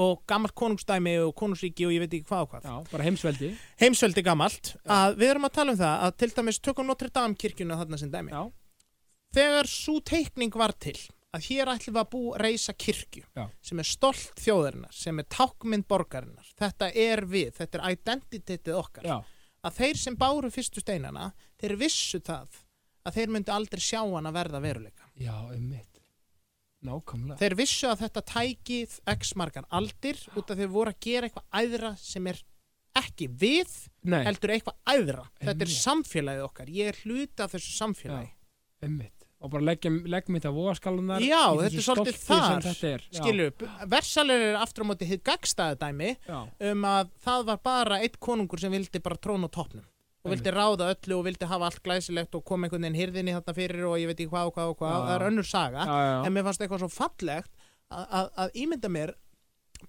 og gammalt konungsdæmi og konungsríki og ég veit ekki hvað og hvað, já, bara heimsveldi heimsveldi gammalt, að við erum að tala um það að til dæmis tökum Notre Dame kirkjuna þarna sem dæmi. já, þegar svo teikning var til að hér ætlum við að bú reysa kirkju Já. sem er stolt þjóðarinnar sem er tákmynd borgarinnar þetta er við, þetta er identitetið okkar já, að þeir sem báru fyrstu steinana þeir vissu það að þeir myndu aldrei sjá hann að verða veruleika já, um mitt nákvæmlega þeir vissu að þetta tæki x margar aldir út af þeir voru að gera eitthvað æðra sem er ekki við Nei. heldur eitthvað æðra þetta er Einmitt. samfélagið okkar, ég er hluti af þessu samfélagi Einmitt. og bara leggja, leggja mitt að voðaskalunar Já, þetta er svolítið þar, þetta er. Já, skilju, versalir er aftur á móti hitt gagstaða dæmi já, um að það var bara eitt konungur sem vildi bara trón á toppnum og vildi ráða öllu og vildi hafa allt glæsilegt og kom einhvern veginn hirðinni þarna fyrir og ég veit ekki hvað og hvað og hvað, Já. það er önnur saga já, já, já. en mér fannst eitthvað svo fallegt að, að, að ímynda mér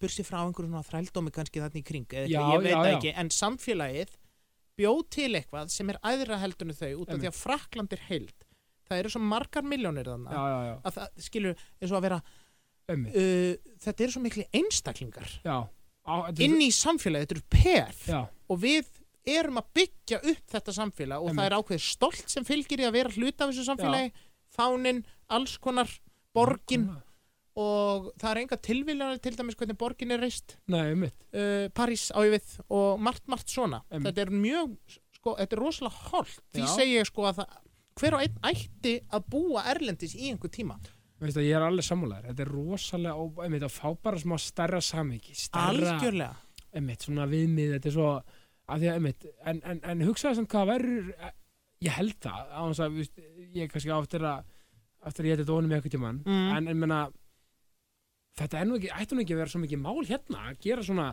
bursi frá einhverjum svona þrældómi kannski þarna í kring eða Já, eitthvað, ég veit já, það já. ekki, en samfélagið bjóð til eitthvað sem er æðra heldunni þau út af því að Frakland er heild það eru svo margar miljónir já, þarna já, já, að það, skilur, eins og að vera einmitt uh, þetta eru svo miklu einstaklingar já, á, þetta er- inn í samfélagið, þetta eru peð já, og við erum að byggja upp þetta samfélag og það er ákveðið stolt sem fylgir í að vera hluta af þessu samfélagi, fáninn, alls konar, borgin nákvæmlega. og það er enga tilviljanir til dæmis hvernig borgin er reist, nei, einmitt, uh, París á ég við og margt, margt svona. Einmitt. Þetta er mjög, sko, sko, þetta er rosalega holt því Já. segi ég sko að það, hver og einn ætti að búa erlendis í einhver tíma Veist að ég er alveg sammálaður, þetta er rosalega ó- einmitt að fá bara smá stærra samhengi stærra, algjörlega einmitt, svona viðmið þetta er svo, að því að einmitt en, en, en hugsaði samt hvað verður ég held það, á hans að viðst, ég kannski á eftir að, eftir að ég þetta ónum eitthvað tímann, Mm. en en menna þetta er nú ekki, ætti nú ekki að vera svo mikið mál hérna, að gera svona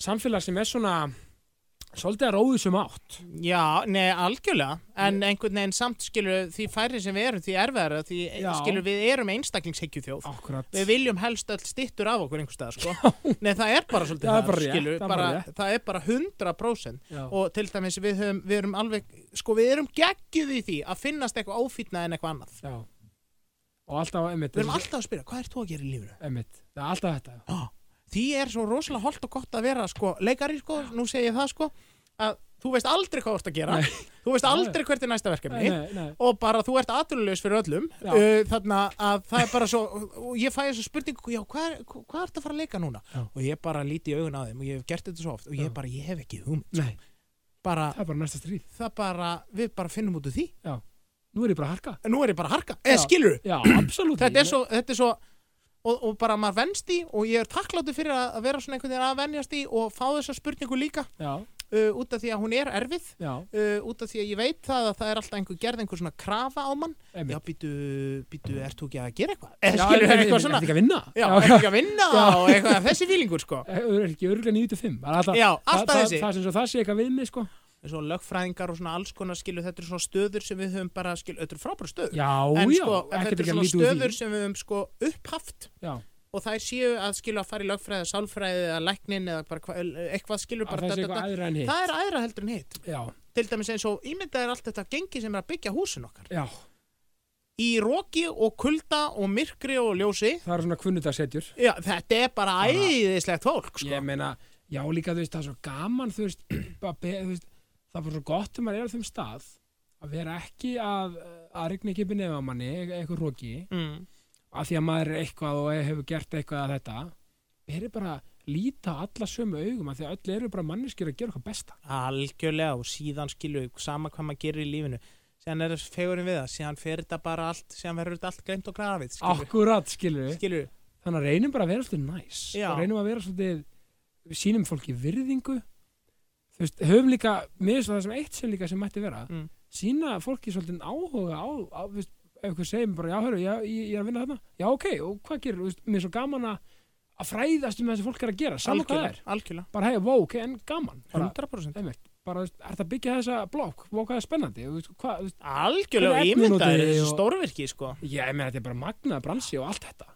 samfélag sem er svona svolítið að róðu sem átt Já, nei, algjörlega, en einhvern veginn samt skilur því færri sem við erum, því erfæra, því Já. skilur við erum einstaklingshyggju þjóð. Akkurat Við viljum helst öll stittur af okkur einhver stað, (laughs) sko. nei, það er bara svolítið Það er þar, bara rétt, skilur, það er bara bara, rétt. það er bara 100%. Já. Og til dæmis við, höfum, við erum alveg, sko, við erum geggjuð í því að finnast eitthvað ófýtnað en eitthvað annað. Já. og alltaf einmitt, Við erum alltaf að spyrja, hvað ert þú að gera í lífinu? einmitt, það er alltaf þetta Á, því er svo rosalega holdt og gott að vera, sko, leikari, sko, nú segi ég það, sko, að þú veist aldrei hvað þú ert að gera, þú veist Nei. aldrei hvert er næsta verkefni. nei, nei, og bara þú ert atvinnulegs fyrir öllum Já. uh, þannig að það er bara svo og ég fæ þessu spurningu, já, hvað, er- hvað ertu að fara að leika núna? Já. og ég bara líti í augun á þeim og ég hef gert þetta svo oft og ég Já. bara, ég hef ekki hugmynd nei, bara, það er bara næsta stríð það bara, við bara finnum út úr því nú er ég bara að harka en nú er ég bara að harka, Já. eða skilur (clears throat) Já, absolutt þetta er svo, þetta er svo og, og bara maður venst í og ég er takkláttu fyrir að að vera svona einhvern veginn að venjast í og fá þessa spurningu líka Já, uh, út af því að hún er erfið já, uh, út af því að ég veit það að það er alltaf einhver gerð einhver svona krafa á mann einmitt já, býtu, býtu, ert þú ekki að gera eitthvað? Eða Já, skilur eitthvað einmitt, einmitt, svona ertu ekki að vinna Já, ert ekki að vinna Já. og eitthvað þessi fílingur, sko Er ekki örgulega 95 (laughs) Það er alltaf- Já, það- alltaf það- þessi. Það sem svo það sé eitthvað við mig sko Svo lögfræðingar og svona alls konar skilur þetta er svona stöður sem við höfum bara skilur, þetta er frábæra stöður Já, En já, sko, en ekkert þetta er ekki að svona líta úr því stöður sem við höfum sko upphaft Já, og það séu að skilur að fara í lögfræði, eða sálfræði eða læknin eða bara hva, eitthvað skilur að bara það sé da, da, eitthvað aðra en da. hitt Það er aðra heldur en hitt Já, Til dæmis eins og ímyndað er allt þetta gengi sem er að byggja húsin okkar já, Í roki og kulda og myrkri og ljósi það er svona kvunnudagsetjur Já, þetta er bara Bara- æðislegt fólk, sko Ég meina, já líka þú veist það er svo gaman þú veist, (clears throat) bara be, þú veist það er bara svo gott þegar maður er á þeim stað að vera ekki að, að rigna ekki upp í nefn á manni, e- eitthvað róki mm. að því að maður er eitthvað og hefur gert eitthvað að þetta, beri bara að líta á alla sömu augum að því að öll eru bara manneskjur að gera okkar besta algjörlega og síðan skilu sama hvað maður gerir í lífinu síðan er þessi fegurinn við það, síðan fer þetta bara allt síðan verður þetta allt glemt og grafið skilu, Akkurat, skilur við skilu. Þannig að reynum bara að vera svolítið næs Já. og reynum að vera svolítið við sýnum fólki virðingu þú veist, höfum líka, mér finnst það sem eitt sem líka sem mætti vera, Mm. sýna fólki svolítið áhuga á, á þú veist, ef ykkur segir mér bara, já, hörru, já, ég, ég er að vinna þarna já, ok, og hvað gerir, þú veist, mér er svo gaman að að fræðast um það sem fólk er að gera saman hvað það er, algjörlega, algjörlega bara hei, wow, ok, en gaman bara, 100% einmitt, bara, þú veist, er það byggja þessa blokk, wow, hvað er spennandi og, þú veist, hvað, þú veist, algjörlega og Hvernig efni ímyndaður notaði þessi og- stórvirki sko. ég, ég meina, þetta er bara magnað bransi og allt þetta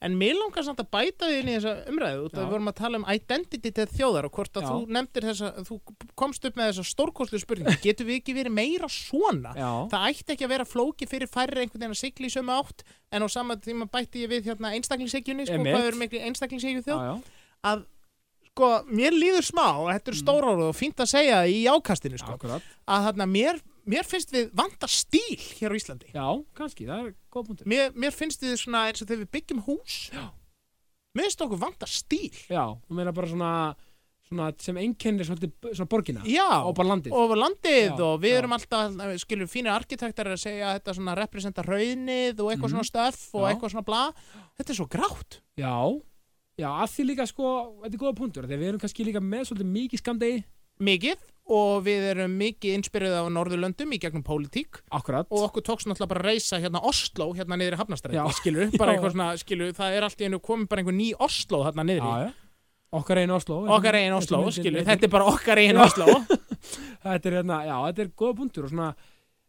en mér langar samt að bæta því inn í þessa umræðu út að Já. við vorum að tala um identity til þjóðar og hvort að Já. þú nefndir þessa þú komst upp með þessa stórkostlu (laughs) spurning getum við ekki verið meira svona já, það ætti ekki að vera flóki fyrir færri einhvern veginn að sigla í sömu átt en á sama tíma bætti ég við hérna einstaklingshegjunni sko, Einmitt. hvað er miklu einstaklingshegjun þjóð já, já, að sko, mér líður smá og þetta er Mm. stóra orð og fínt að segja í ákastinu sko, að akkurat þarna mér, mér finnst við vanda stíl hér á Íslandi já, kannski, það er góð punktur mér, mér finnst við svona eins og þegar við byggjum hús Já. mér finnst okkur vanda stíl Já, þú meina bara svona, svona sem einkennir svolítið b- svona borgina já, og bara landið. og landið Já, og við já. erum alltaf, eh, skilur, fínir arkitektar eru að segja að þetta svona representa raunnið og eitthvað Mhm. svona stöff og Já. eitthvað svona bla þetta er svo grátt Já, já, að því líka sko, þetta er góða punktur, þegar við erum kannski líka með svolítið mikið skamdegi, mikið og við erum mikið inspirið af Norðurlöndum í gegnum pólitík akkurat, og okkur tókst náttúrulega bara að reysa hérna Oslo hérna niður í Hafnastræði, Já. (laughs) skilur (laughs) bara Já. eitthvað svona, skilur, það er allt í einu komið bara einhver ný Oslo hérna já, niður í já, okkar einn Oslo. okkar eigin Oslo, skilur, Þetta, þetta er bara okkar eigin Já. Oslo (laughs) þetta er hérna, já, þetta er góða punktur og svona,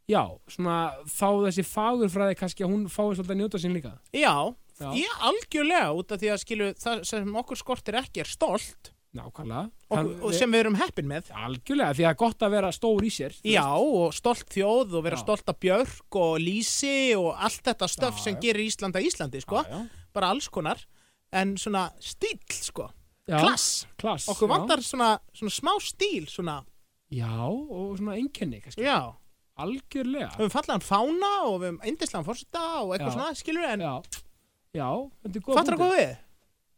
já, svona þá þessi fagurfræði kannski að hún fái svolítið að njóta sín líka. já, Já, ég algjörlega út af því að skilur, það sem okkur skortir ekki er stolt nákvæmlega. okkur, og sem við erum heppin með Algjörlega, því að það er gott að vera stór í sér. þú Já, veist. og stolt þjóð og vera Já. stolt af Björk og Lísi og allt þetta stöf Já, sem já. gerir Íslanda Íslandi, sko, Já, já. bara alls konar en svona stíl, sko, Já, klass klass. okkur já. vantar svona, svona smá stíl, svona, Já, og svona einkenni kannski, já algjörlega. við höfum fallaðan fána og við höfum indislegan fórseta og eitthvað Já. svona, skilur en já, já, þetta er góð fattur að góð við?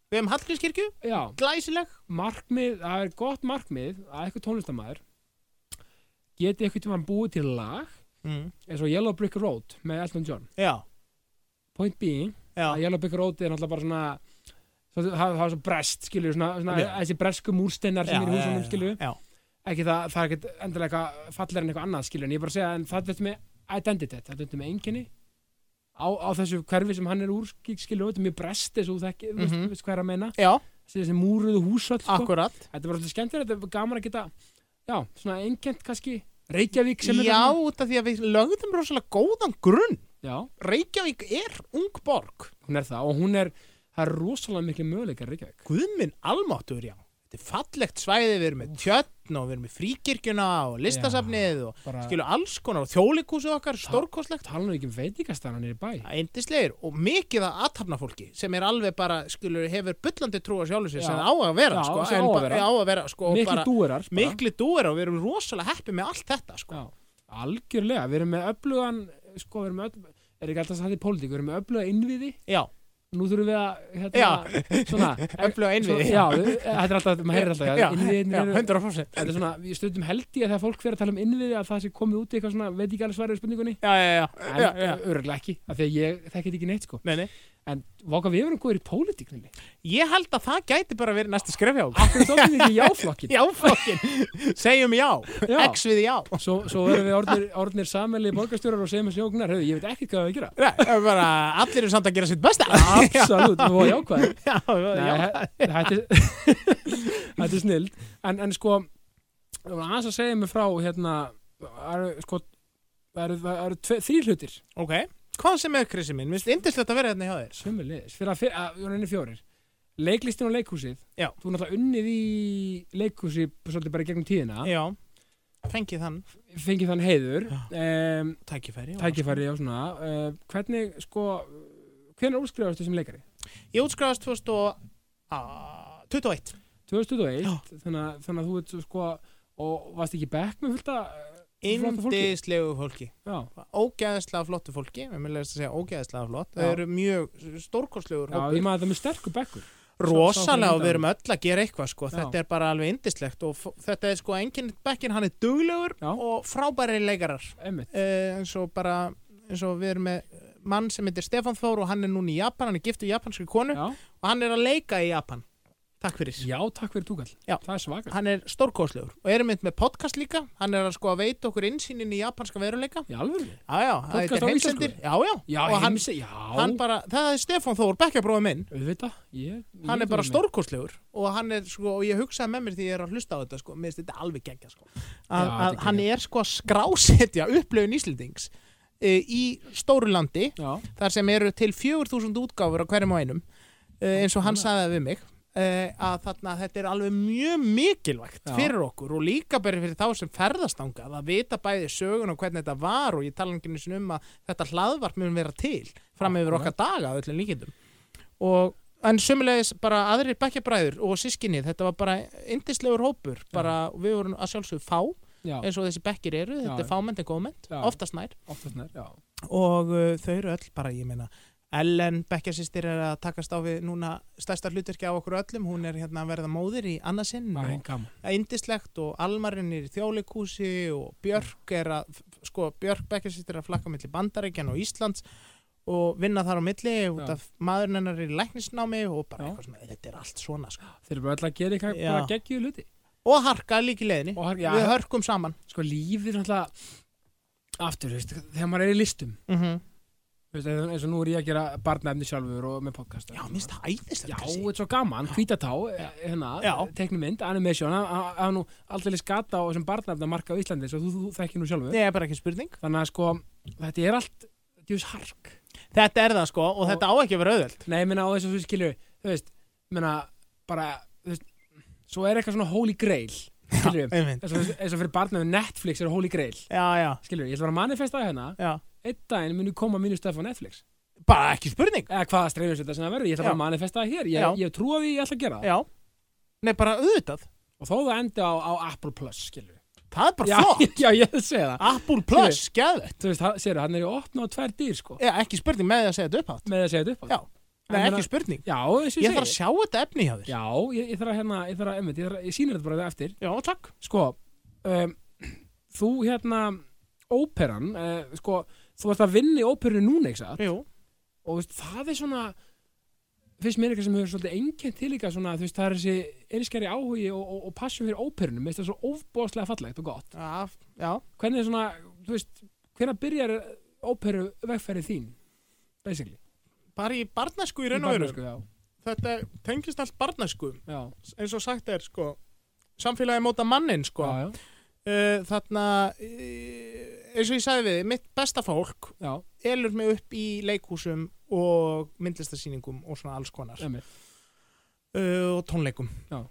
Við höfum Hallgrímskirkju, Já, glæsileg markmið, það er gott markmið að eitthvað tónlistamæður geti eitthvað tíma búið til lag mm. eins og Yellow Brick Road með Elton John já, Point being, já, að Yellow Brick Road er náttúrulega bara svona svo- það það var svo brest, skilur, svona, svona Já. þessi bresku múrsteinar já, sem er í húsunum, skilur já, ekki það, það er ekkert endilega eitthvað fallir en eitthvað annað, skilur, en ég er bara að segja en það þetta með identity, það þetta með einkenni á, á þessu hverfi sem hann er úr skilur, skilur þetta er mjög brest þessu þekki, mm -hmm. Mhm. veist hvað er að meina já, þessi, þessi múruðu húsöld, sko. akkurat þetta er bara svolítið skemmtilegt, þetta er gaman að geta já, svona einkent kannski Reykjavík sem er já, þarna. út af því að við lögðum rosalega góðan grunn já, Reykjavík er ung borg hún er það og hún er, það er rosalega miklu möguleikar í Reykjavík Guðminn almáttur, já Þetta er fallegt svæði, við erum með tjötn og við erum með fríkirkjuna og listasafnið og bara, skilu alls konar og þjólikúsi okkar, stórkoslegt tala nú ekki um veitingastæðan hann er í bæ eindislegir og mikið að aðtapna fólki sem er alveg bara, skilu, hefur bullandi trú á sjálfu sér Já. sem það á að vera, Já, sko, sem en á að bara- vera. á að vera sko, og miklu bara, dúrar bara. miklu dúir og við erum rosalega heppið með allt þetta, sko. Já, algjörlega, við erum með öflugan sko, við erum með öll, er ekki alltaf satt í pólitík við erum með öfluga innviði, Já, nú þurfum við að Já. hérna, svona, öflug einvið. svona- já, við- eh, þetta er alltaf, maður heyrir alltaf já, já, innviðin já, eru, 100%. þetta er svona, við stundum held ég að þegar fólk fyrir að tala um innviði að það sé komið út í eitthvað svona, veit ekki alveg svarið við spurningunni Já, já, já, en já, já. örgulega ekki, af því að ég þekkit ekki neitt sko, Nei, nei. en vaka við erum góðir í pólitíkninni, Ég held að það gæti bara verið næsta skref hjá okkur. akkur tókum við ekki jáflokkin Já, fokkin, segjum (laughs) já, Já. X við já svo, svo erum við orðnir, orðnir samanlega borgarstjórar og segjum að sjóknar, hefur, ég veit ekki hvað við á að gera Nei, það er bara, Allir eru samt að gera sitt besta Absolutt, við vorum jákvæðir (laughs) Já, já, já, Nei, (laughs) he- Þetta (laughs) er- þetta er snild en, en sko ég var aðeins að segja mig frá hérna, það eru sko það eru, það eru tve, þrír hlutir ok Hvað sem er Krissi minn, minnst indislegt að vera hérna hjá þér sömulegis, fyrir að fyrir, að, við erum henni fjórir leiklistin og leikhúsið Já. þú er náttúrulega unnið í leikhúsi svolítið bara í gegnum tíðina Já, fengið þann fengið þann heiður um, tækifæri og- tækifæri og svona uh, hvernig sko hvernig úrskrifastu sem leikari? Ég útskrafast 2021 Já. 2001 þannig, að- þannig að þú ert sko og varst ekki í bekk með fullta eh, Flottu fólki. Indislegu fólki já, Ógæðislega flottu fólki, mér leðist að segja ógæðislega flott Já. Það eru mjög stórkorslegur já ég maður þetta með sterkur bekkur rosalega sá- sá- og við erum öll að gera eitthvað sko. Já. þetta er bara alveg indislegt og f- þetta er sko enginn bekkin, hann er duglegur Já. og frábæri leikarar Einmitt. uh, eins og bara eins og við erum með eh, mann sem heitir Stefán Þór og hann er núna í Japan, hann er giftur japanskri konu Já. og hann er að leika í Japan takk fyrir, já, takk fyrir túkall Já. Það er svakar hann er stórkoslegur og erum mynd með podcast líka, hann er að sko að veita okkur innsýnin í japanska veruleika Í alvöru? já, já, það Podcast heitir á heimsendir já, já, Já, og hann, heimsi, já hann bara, það er Stefán Þór, bekkjabróði minn Auðvitað ég, ég hann er veit bara það stórkostlegur og hann er sko, og ég hugsaði með mér því ég er að hlusta á þetta sko, mér finnst þetta alveg gengja sko að, þetta er að hann er sko að skrásetja upplöfun Íslendings uh, í stóru landi Já, þar sem eru til 4000 útgáfur á hverjum og einum uh, eins og hann sagði það við mig uh, að þarna þetta er alveg mjög mikilvægt Já. fyrir okkur og líka bara fyrir þá sem ferðast þangað að vita bæði sögun og hvernig þetta var og ég tala ekki einu sinni um að þetta hlaðvarp mun vera til fram yfir okkar daga að öllum líkindum og En sömulegis bara aðrir bekkjabræður og sískinni, þetta var bara yndislegur hópur, bara við vorum að sjálfsögðu fá já, eins og þessi bekkir eru, þetta Já. er fámend en góðmend, Já. oftast nær oftast nær Já, og uh, þau eru öll bara, ég meina Ellen Bekkjarsýstir er að takast á við núna stærsta hlutverki á okkur öllum hún er hérna að verða móðir í annarsinn það er og gaman indislegt og Almarinn er í þjólikúsi og Björk er að sko Björk Bekkjarsýstir er að flakka milli Bandaríkjan og Íslands og vinna þar á milli út Já. af maðurinn hennar er í læknisnámi og bara Já. eitthvað svona, þetta er allt svona sko. Þeir eru bara alltaf að gera eitthvað Já. bara geggju hluti og harka líka í leiðinni, Og har, já, við hörkum saman sko lífið er alltaf Aftur, þú veist, þegar maður er í listum mm þú veist, eins og nú er ég að gera barnaefni sjálfur og með podcast Já, minnst það æðislegt Já, Krissi. þetta er svo gaman, hvítatá hérna, Já. teknimynd, animation að að nú aldrei skata á þessum barnafna marka á Íslandi, svo þú, þú, þú þekkir nú sjálfur Nei, bara ekki spurning þannig að sko, þetta er allt djús hark, Þetta er það sko og, Og- þetta á ekki að vera auðveld nei, ég meina á þess að þú skilur þú veist, ég meina bara, þú veist, svo er eitthvað svona holy grail, skilur við Einmitt. eins og eins og fyrir barnafnum Netflix er holy grail Já, já, skilur, ég ætla bara að manifesta það hérna já einn daginn muni koma mínu stöð frá Netflix Bara ekki spurning eða hvaða streifins þetta sem það verður, ég ætla bara að manifesta það hér Já. ég, ég trúa því, ég ætla að gera það Já Nei, bara auðvitað og þó það endi á, á Apple Plus, skilur Það er bara já, flott (laughs) já, ég hefði að segja það Apple Plus, skjæðvegt þú veist, það- sérðu, hann er í opna á tvær dýr sko, Já, ekki spurning með því að segja þetta upphátt með að segja þetta upp á Já, Nei, En ekki meina- spurning já, eins og Ég ég þarf að segi sjá þetta efni hjá þér já, ég, ég þarf að hérna, ég þarf að, einmitt, ég, þarf að- ég sýnir þetta bara eftir já takk sko um, þú hérna óperan, eh, sko þú varst að vinna í óperu núna, ekki satt Jú, og veist, það er svona finnst mér eitthvað sem hefur svolítið enginn til líka svona, þú veist, það er þessi einskæri áhugi og, og, og passjum fyrir óperunum, veist það er svo ofbóðslega fallegt og gott já, já hvernig er svona, þú veist, hvernig byrjar óperu vegferði þín basically, bara í barnasku í raun og veru barnæsku, já, þetta tengist allt barnasku já, eins og sagt er sko samfélagi móta mannin sko já, já, uh, þarna uh, eins og ég sagði við, þig, mitt besta fólk já, elur mig upp í leikhúsum og myndlistasýningum og svona alls konar uh, emmitt og tónleikum Um. Já.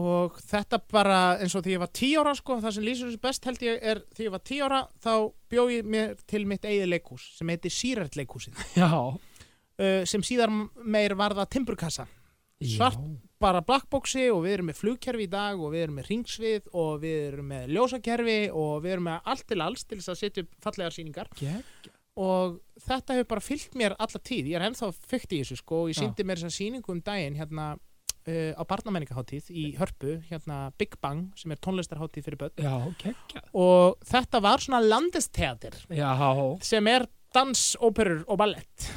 og þetta bara eins og því ég var 10 ára sko, það sem lýsir þessu best held ég er því ég var 10 ára þá bjó ég mér til mitt eigið leikhús sem heiti Sýrært leikhúsið já, uh, sem síðar meir varða timburkassa Svart. bara blackboxi og við erum með flugkerfi í dag og við erum með ringsvið og við erum með ljósakerfi og við erum með allt til alls til þess að setja upp fallegar sýningar já, og þetta hefur bara fyllt mér alla tíð, ég er ennþá fyrkt í þessu sko og ég Já. síndi mér þess að sýningu um daginn hérna uh, á barnamenningaháttíð í Hörpu, hérna Big Bang sem er tónlistarháttíð fyrir börn já, kekja og þetta var svona landesteater já, sem er dans, óperur og ballett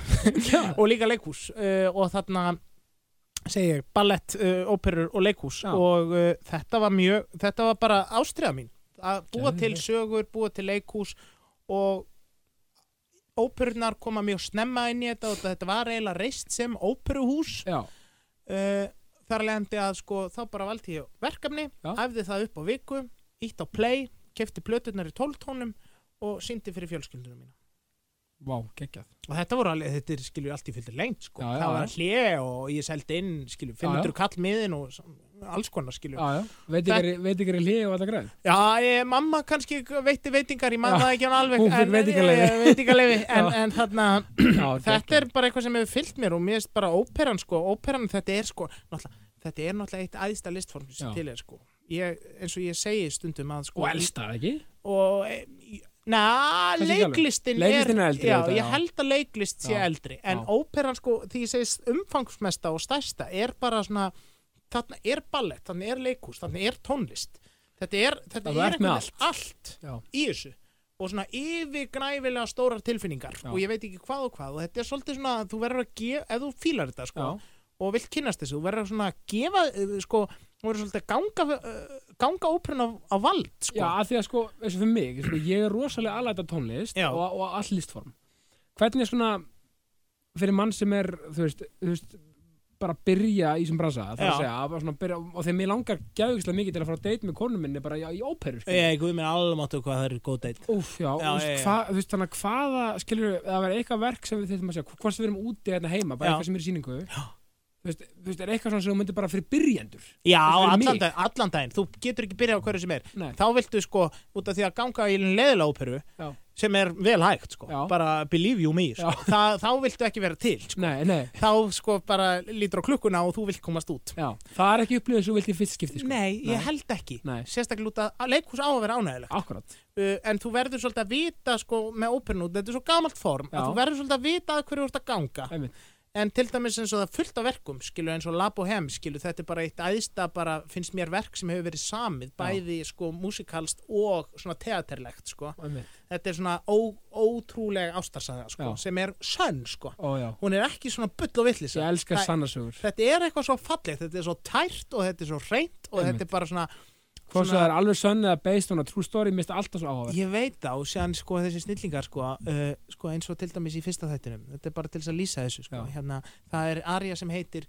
já, (laughs) og líka leikhús uh, og þarna segi ég ballett, uh, óperur og leikhús Já. og uh, þetta var mjög þetta var bara ástriða mín að búa til Geðveikt. sögur, búa til leikhús og óperurnar koma mjög snemma inn í þetta og þetta var eiginlega reist sem óperuhús já, uh, þar leðandi að sko þá bara valdi ég verkefni, Já. æfði það upp á viku ítt á play, kefti plöturnar í tóltónum og síndi fyrir fjölskyldunum mína vá, kekja og þetta voru alveg, þetta er skilju allt í fylgdi lengt sko, Já, já, það já. var hlje og ég seldi inn skilju, 500 kall miðin og s- alls konar skilju já, já, já, veit ekki veit ekki er hlið og alltaf (clears throat) græð ég, mamma kannski veitti veitingar, ég man Já, það ekki hann alveg hún fékk en- veitingaleyfi. eh, veitingaleyfi, en, (laughs) Já. en þarna já, þetta hérna. er bara eitthvað sem hefur fyllt mér og mér er bara óperan sko, óperan þetta er sko náttúrulega, þetta er náttúrulega eitt æðsta listform sem Já. til er sko ég, eins og ég segi stundum að sko og elsta, ekki? og e, na, Kannski ekki alveg. leiklistin Leiklistin er eldri, já, auðvitað, já. ég held að leiklist sé Já, eldri en já. óperan sko, því ég segist umfangsmesta og stærsta er bara svona þarna er ballett, þarna er leikhús, þarna er tónlist þetta er, þetta Það er er með allt. allt Já. í þessu og svona yfirgræfilega stórar tilfinningar Já. og ég veit ekki hvað og hvað og þetta er svolítið svona að þú verður að gefa, ef þú fílar þetta sko, Já. og vilt kynnast þessu, þú verður svona að gefa eh, sko, þú verður svolítið að ganga eh, ganga óperan á, á vald sko. Já, af því að sko, eins og fyrir mig, sko, ég er rosalega aðlæta tónlist Já. og, og all listform. Hvernig er svona, fyrir mann sem er, þú veist, þú veist bara að byrja í sem brasa, það er að Já. segja, bara svona byrja, og þegar mér langar gæðugislega mikið til að fara að deyta með konu minni bara í, í óperu, sko. Ég guð minn alveg máttu hvað það eru góð deitt. Úf, Já, já, já, já, veist, já, já. þú veist þannig að hvaða, skilur, það verður eitthvað verk sem við þurfum að segja, hvort sem við erum úti hérna heima, bara Já. eitthvað sem er í síningu, Já. þú veist, þú veist, er eitthvað svona sem þú myndir bara fyrir byrjendur. Já, Þetta er allan, mig. dag, allan daginn. Þú getur ekki byrjað á hverju sem er. Nei. Þá viltu sko, út af því að ganga í leðilega óperu, Já. sem er vel hægt sko, Já. bara believe you me, sko. Þa, þá viltu ekki vera til. Sko. Nei, nei, Þá sko bara lítur á klukkuna og þú vilt komast út. já, það er ekki upplifin svo vilt í fyrst skipti, sko. Nei, ég Nei. held ekki. Nei. Sérstaklega út að að leikhús á að vera ánægileg. Akkurat, uh, en þú verður svolítið að vita sko, með óperun út, þetta er svo gamalt form Já. að þú verður svolítið að vita að hverju þú ert að ganga Einmitt. en til dæmis eins og það er fullt af verkum skilu, eins og Lab og Hem, skilu, þetta er bara eitt æðsta bara, finnst mér verk sem hefur verið samið bæði sko músikalst og svona teaterlegt sko. einmitt, þetta er svona ó, ótrúlega ástarsaga sko, Já. sem er sönn sko. ó já. hún er ekki svona bull og villis Ég elska sannasögur þetta er eitthvað svo fallegt, þetta er svo tært og þetta er svo reynt og Einmitt. þetta er bara svona Hvort sem svona- það er alveg sönn eða based on a true story Mér finnst alltaf svo áhugaverð Ég veit þá, séðan sko þessi snillingar sko, uh, sko eins og til dæmis í fyrsta þættinum þetta er bara til þess að lýsa þessu sko. Já. hérna, það er arja sem heitir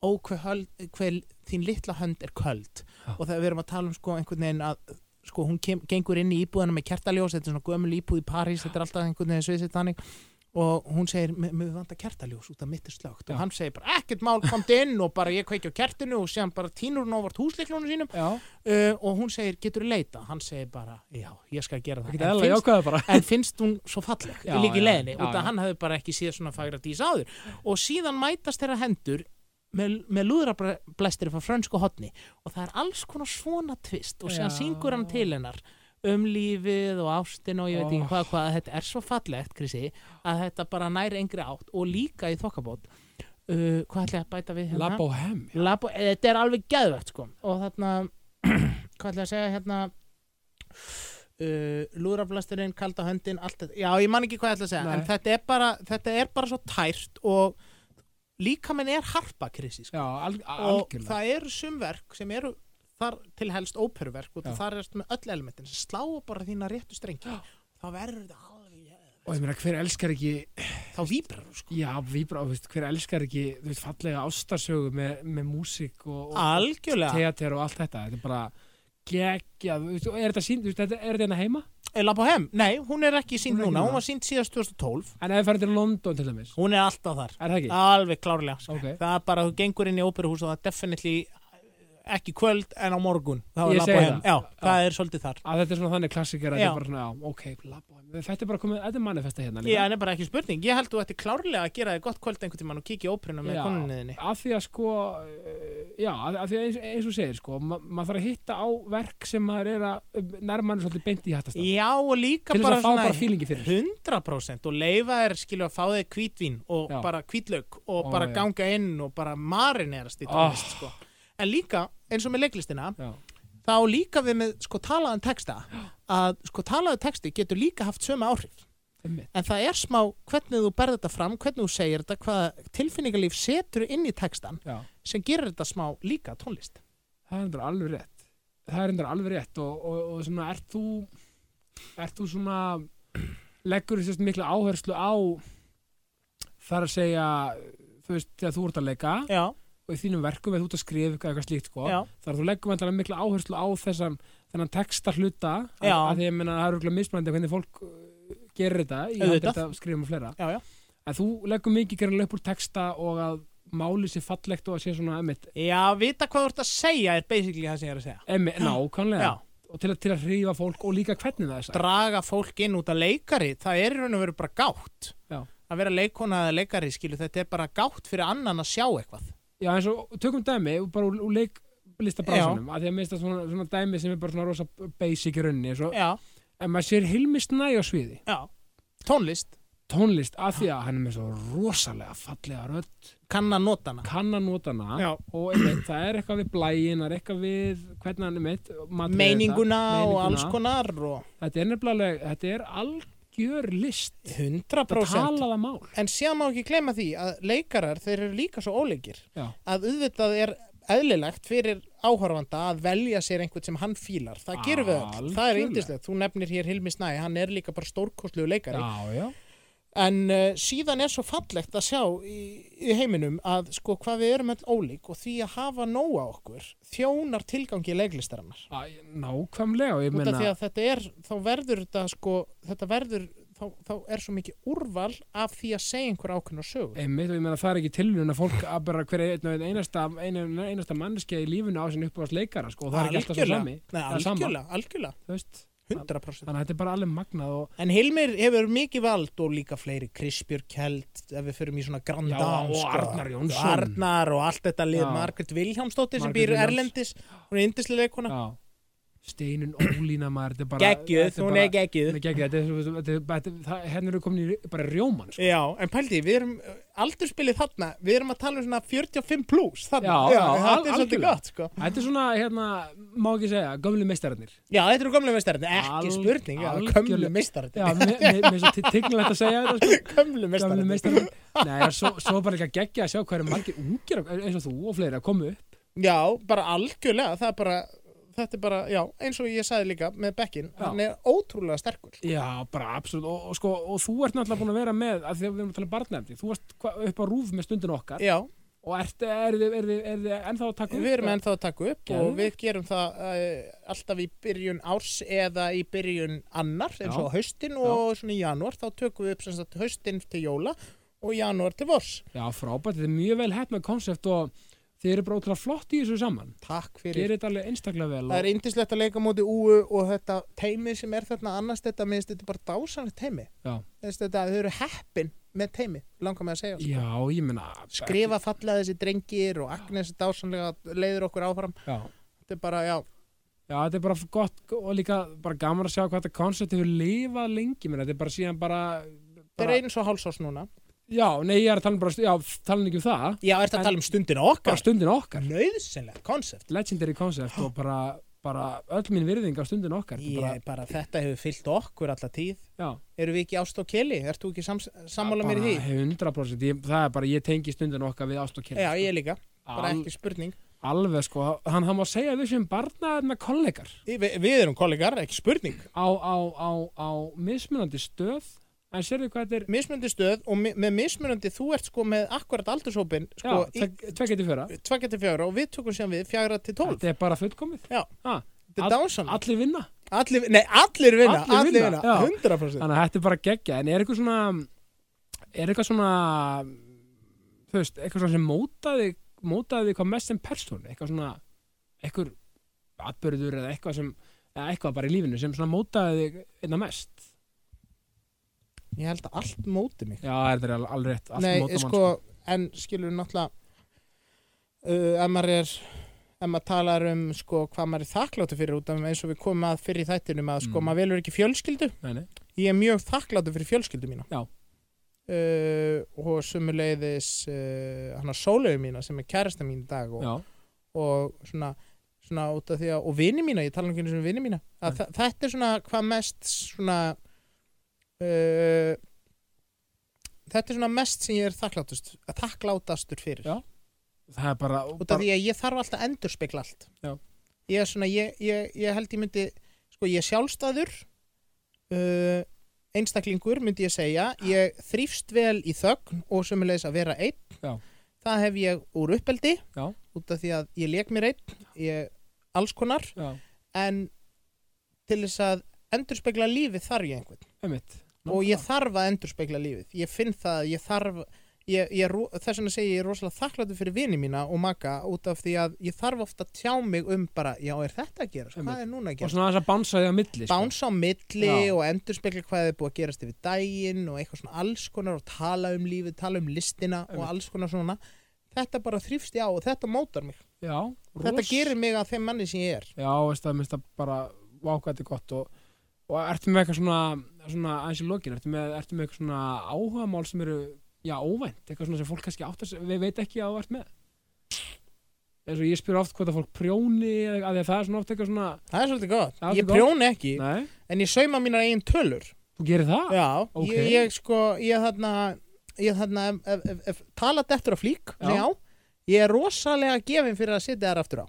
ó hver, höld, hver þín litla hönd er köld Já. og þegar við erum að tala um sko einhvern veginn að sko hún kem, gengur inn í íbúðana með kertaljós þetta er svona gömul íbúð í París, þetta er alltaf einhvern veginn sviðsitt þannig og hún segir, mér vanda kertaljós út af mitt er slögt Já. og hann segir bara, ekkert mál, komdu inn og bara ég kveiki á kertinu og séðan bara tínur hún ávart húsleiklunum sínum Já, uh, og hún segir, getur þú leita? Hann segir bara, já, ég skal gera það það. geta En eðla finnst, jákvæða bara en finnst hún svo falleg, Já, líka í já, leðinni, já, út já. að hann hefði bara ekki síðan svona fagra dísa áður. Og síðan mætast þeirra hendur með, með lúðrablestir frá frönsku hotni og það er alls konar svona tvist og síðan Já. syngur hann til hennar um lífið og ástin og ég veit Oh. ekki hvað hvað, þetta er svo fallegt, Krissi, að þetta bara næri engri átt og líka í þokkabót. Uh, hvað ætla ég að bæta við hérna? Lab og hem Labo, eh, (clears throat) þetta er alveg geðvægt sko og þarna hvað ætla ég að segja hérna uh, lúðraflasturinn, kalda höndin allt þetta, já ég man ekki hvað ég ætla að segja Nei. en þetta er, bara, þetta er bara svo tært og líka minn er harpa krisi sko. já, al og algjörlega það eru sum verk sem eru þar til helst óperuverk og Já. þar er þetta með öll elementin sem slá bara þína réttu strengi þá verður þetta alveg og ég meina hver elskar ekki þá víbrar þú sko já, víbra, og, veist, hver elskar ekki þú veist, fallega ástarsögu með, með músík og, og algjörlega, teater og allt þetta þetta er bara geggjað þú veist, og er þetta sínd, þú veist, þetta- er þetta hérna heima Ella på hem Eh, nei, hún er ekki sínd Hún er ekki núna, núna. hún var sínd síðast 2012 en ef við færum til London til dæmis hún er alltaf þar, er það ekki? alveg klárlega sko. ok, það er bara að þú gengur inn í óperuhús og það er definitely ekki kvöld en á morgun þá Ég er labba segi heim, það. já, það er svolítið þar að þetta er svona þannig klassikir að þetta Já. er bara svona, já, ok, Laboheim. þetta er bara komið, þetta er manifesta hérna ég en er bara ekki spurning, ég held þú ætti klárlega að gera þig gott kvöld einhvern tímann og kíkja í óperuna með Já. konunniðinni af því að sko eh, já, af af því að eins, eins og segir sko ma maður þarf að hitta á verk sem maður er að nærmann svolítið beint í hættast til já og líka þess bara að fá bara fílingi fyrir 100% og leifa þér skilju að fá þér kvítvín og Já. bara kvítlaug og Ó, bara já. ganga inn og bara marinerast í Ah. tónlist sko. en líka eins og með leiklistina já, þá líka við með sko talaðan texta að sko talaðu texti getur líka haft sömu áhrif einmitt. en það er smá hvernig þú berð þetta fram hvernig þú segir þetta, hvaða tilfinningalíf setur inn í textan já, sem gerir þetta smá líka tónlist það er endur alveg rétt það er endur alveg rétt og, og, og svona, ert þú ert þú svona leggur þess mikla áherslu á þar að segja þú veist, þegar þú ert að leika já, og í þínum verkum eða þú ert að skrifa eitthvað, eitthvað slíkt sko, já, þar þú leggum alltaf mikla áherslu á þessan þennan texta hluta Já. af af því ég meina það eru mismændi hvernig fólk uh, gerir þetta í Auðvitað. handrita skrifum og fleira já, já en þú leggum mikið gerðan upp úr texta og að máli sér fallegt og að sé svona emitt, já, vita hvað þú ert að segja er basically það sem ég er að segja emitt nákvæmlega já, og til að, til að hrífa fólk og líka hvernig það er sagt draga fólk inn út af leikari það er í raun og veru bara gátt Já. að vera leikona eða leikari skilu þetta er bara gátt fyrir annan að sjá eitthvað já eins og tökum dæmi bara úr, úr leik lista brásunum að því að mista svona, svona dæmi sem er bara svona rosa basic í rauninni eins og- já, en maður sér Hilmi Snæ á sviði já, tónlist tónlist að því að hann er með svo rosalega fallega rödd kann að nota hana kann að nota hana Já. og einmitt, það er eitthvað við blæin, það er eitthvað við hvernig hann er mitt matriði meininguna þetta, og meininguna. alls konar og þetta er nefnilega, alveg- þetta er algjör list þetta 100% talaða mál en síðan má ekki gleyma því að leikarar þeir eru líka svo óleikir Já. að auðvitað er eðlilegt fyrir áhorfanda að velja sér einhvern sem hann fílar það gerum við öll, það er Algjörlega. yndislegt þú nefnir hér Hilmi Snæ, hann er líka bara stórkostlegu leikari já, já, en uh, síðan er svo fallegt að sjá í, í heiminum að sko hvað við erum öll ólík og því að hafa nóa okkur þjónar tilgangi leiklistarinnar Æ, nákvæmlega og ég út af því meina, að þetta er, þá verður þetta sko, þetta verður þá, þá er svo mikið úrval af því að segja einhver ákveðna sögur einmitt og ég meina það er ekki tilvíðun að fólk að bara hver einn og einn einasta, ein, einasta manneskja í lífinu á sinni uppáðast leikara sko, og það er ekki alltaf svo Algjörlega. sami Nei, er sama. algjörlega, algjörlega, þú veist, 100% þannig að þetta er bara alveg magnað og, En Hilmir hefur mikið vald og líka fleiri Krispjör Kjeld, ef við förum í svona Grand Já, Dam, og sko. Arnar Jónsson. Arnar og allt þetta lið, Já. Margrét Vilhjámsdóttir sem Margrét býr Vilhjálms. Erlendis hún er yndislega leikona, já Steinun Ólína maður, þetta er bara geggjuð, þetta hún bara- er geggjuð Nei, geggjað, þetta er svo- þetta er- þetta er- það- hérna eru komin í bara rjóman sko. Já, en pældi, við erum aldurspilið þarna, við erum að tala um svona 45 plus þarna, Já, já, al- þetta er svolítið algjörlega. gott, sko þetta er svona, hérna, má ekki segja gömlu meistararnir Já, þetta eru gömlu meistarinn, Al- ekki spurning, já, algjörlega. gömlu meistarinn, já, mér mér- mér er svo tignilegt að segja þetta sko. (laughs) gömlu gömlu meistarinn meistararnir Nei, og svo, svo bara ekki að gegja að sjá hvað eru margir ungir eins og þú og fleiri að koma upp Já, bara algjörlega, það er bara, þetta er bara, já, eins og ég sagði líka með Beckin, Já. hann er ótrúlega sterkur já, bara absolutt og, og, sko, og þú ert náttúrulega búin að vera með að því að við erum að tala um barnefni þú varst hva- upp á rúf með stundin okkar Já, og ert, er þið er, er, er, ennþá að taka upp við erum ennþá að taka upp og Geðveikt. við gerum það uh, alltaf í byrjun árs eða í byrjun annar, eins Já. og á haustin og svona í janúar, þá tökum við upp sem sagt haustin til jóla og janúar til vors já, frábært, þetta er mjög vel hætt með konsept og þið eru bara ótrúlega flott í þessu saman Takk fyrir gerir þetta alveg einstaklega vel Það er og, yndislegt að leika móti úu og þetta teimi sem er þarna annars þetta minnst þetta er bara dásanlegt teimi Já. Þess þetta að þau eru heppin með teimi langar mig að segja sko. já, ég meina Skrifa fallega þessi drengir og Agnes er dásanlega leiður okkur áfram já Þetta er bara, já, Já, þetta er bara gott og líka bara gaman að sjá hvað þetta koncept hefur lifað lengi, menn þetta er bara síðan bara, þetta er bara eins og hálsás núna Já, nei, ég er að tala um bara, já, tala ekki um það Já, er þetta En- að tala um stundina okkar? bara stundin okkar, Nauðsynlegt konsept legendary concept og bara, bara öll mín virðing á stundin okkar Þetta er Ég, bara, þetta hefur fyllt okkur alla tíð bara, já, eru við ekki ást og keli, ert þú ekki sams, sammála mér í því? bara 100% ég, það er bara, ég tengi stundin okkar við ást og kynni Já, ég líka, bara sko. Al- ekki spurning alveg sko, hann, hann má segja að við sem barnaðarna kollegar Vi, við erum kollegar, ekki spurning á, á, á, á mismunandi stöð en sérðu hvað þetta er mismunandi stöð og mi- með mismunandi þú ert sko með akkurat aldurshópin sko, já, tvekk eitthvað fjöra, tvekja til fjögra og við tökum sem við fjögra til tólf þetta er bara fullkomið Já. ha, þetta all- er dásamlega allir vinna allir, nei, allir vinna, Allir allir vinna, vinna, já. 100% þannig að þetta er bara geggja en er eitthvað svona er eitthvað svona þú veist, eitthvað svona sem mótaði mótaði eitthvað mest sem persónu eitthvað svona, eitthvað atbyrður eða eitthvað sem eða eitthvað bara í lífinu sem svona mótaði þig einna mest ég held að allt móti mig já, þetta er al- alveg rétt allt nei, mótar mann, sko, en skilur náttúrulega uh, ef maður er ef maður talar um sko hvað maður er þakkláttu fyrir út af eins og við komum að fyrir í þættinum að sko Mm. maður velur ekki fjölskyldu sko. Nei, nei. ég er mjög þakkláttu fyrir fjölskyldu mína Já. Uh, og sumuleiðis uh, hann að sólegu mína sem er kærasta mín í dag og, já, og svona, svona út af því að, og vini mína, ég tala um hvernig sem vini mína að þa- þetta er svona hvað mest svona uh, þetta er svona mest sem ég er þakklátust, þakklátastur fyrir Já, það er bara, út af bara því að ég þarf alltaf að endurspegla allt Já. ég er svona, ég, ég, ég held ég myndi sko ég er sjálfstæður uh, einstaklingur myndi ég segja, ég þrýfst vel í þögn og sömulegis að vera einn Já. það hef ég úr uppeldi Já. út af því að ég leik mér einn ég alls konar já, en til þess að endurspegla lífið þarf ég einhvern einmitt og ég þarf að endurspegla lífið ég finn það, að ég þarf ég, ég, er ro- þess vegna segi ég ég er rosalega þakkláttur fyrir vini mína og maka út af því að ég þarf ofta að tjá mig um bara, já er þetta að gera, Einmitt. hvað er núna að og gera svona þess að bánsa því á milli sko. bánsa á milli Já. og endurspegla hvað er búið að gerast yfir daginn og eitthvað svona alls konar og tala um lífið, tala um listina Einmitt. og alls konar svona þetta bara þrýfst ég á og þetta mótar mig já, þetta ros- gerir mig að þeim manni sem ég er Já, veist það, minnst það bara vákvæði gott og, og ertu með eitthvað svona, svona aðeins í lokin, ertu með, ertu með eitthvað svona áhugamál sem eru, já, óvænt eitthvað svona sem fólk kannski áttar, sig- við veit ekki að þú ert með eins og ég spyr oft hvort að fólk prjóni eða að því að það er svona oft eitthvað svona það er svolítið gott, Það er ég svolítið gott. prjóna ekki Nei, en ég sauma mínar eigin tölur þú gerir það? Já, ok. ég, ég sko, ég þarna, ég þarna, ef, ef, ef, ef talat eftir á flík, Já. já. já, ég er rosalega gefin fyrir að setja þær aftur á.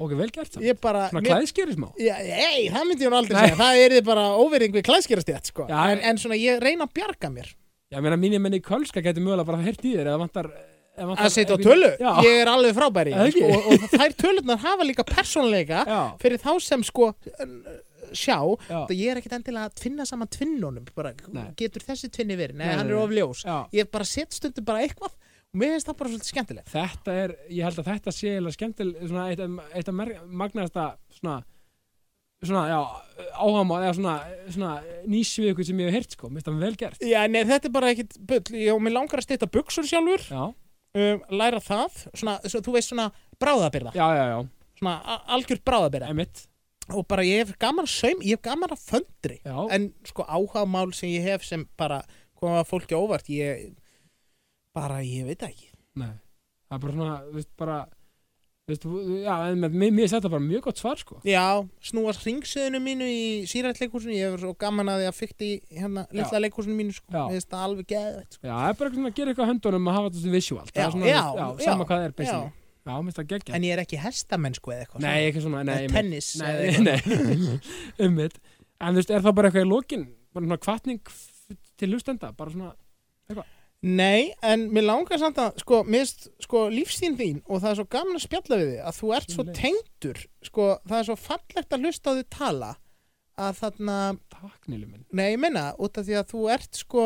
Ok, vel gert það Ég bara, Svona klæðskeri smá já, ei, það myndi ég nú aldrei Nei. segja, það er þið bara óverðing við klæðskýrastjætt, sko. Já, en, en svona, ég reyna að bjarga mér, Já, ég meina, mínir menni í Kölska gæti mögulega bara heyrt í þér eða vantar eða vantar- að setja á ef- tölu, Já, ég er alveg frábæri, Það er sko, ekki. og, og þær tölurnar hafa líka persónleika já, fyrir þá sem, sko, sjá, já, það ég er ekkit endilega að tvinna saman tvinnunum, bara, Nei. getur þessi tvinni verið, nei, Nei, hann er nei, nei. of ljós. já. Ég bara set stundum bara eitthvað og mér finnst það bara svolítið skemmtilegt. þetta er, ég held að þetta sé eiginlega skemmtileg, svona eitt, af- eitt af magnaðasta svona, svona, já, áhagamál eða svona, svona nýsvið ykkur sem ég hef heyrt, sko, mér finnst það vel gert Já, nei, þetta er bara ekkit bull. Ég og mér langar að stýta buksur sjálfur, já, um, læra það, svona, svo, þú veist svona bráðabirða, já, já, já, svona a- algjör bráðabirða. emitt Og bara ég hef gaman að saum, ég hef gaman að föndri. já, En sko áhagamál sem ég hef sem bara koma fólki á óvart, ég bara, ég veit það ekki. nei, það er bara svona, þú veist, bara þú veist, þú- já, en mér- mér finnst þetta bara mjög gott svar, sko Já, snúast ringsöðinu mínu í sírætleikúsinu, ég hef svo gaman að ég að fykti hérna litla leikúsinu mínu, sko. Já. Mér finnst það alveg geðveitt, sko. já, það er bara svona að gera eitthvað á höndunum að hafa þetta visuált, það Já, er svona, já, já, sama hvað það er, Já, basically, já, mér finnst það geggja en ég er ekki hestamenn, sko, eða eitthvað. nei, ekki svona, nei, Eða einmitt. tennis. eða Nei, eitthvað. nei, (laughs) ummitt En þú veist, er það bara eitthvað í lokin bara svona kvartning til hlustenda bara svona, Nei, en mér langar samt að sko, mist, sko, lífstíðin þín og það er svo gaman að spjalla við þig að þú ert svo Sömuleiðis. tengdur sko, það er svo fallegt að hlusta á þig tala að þarna, takk Nýli minn nei ég menna út af því að þú ert sko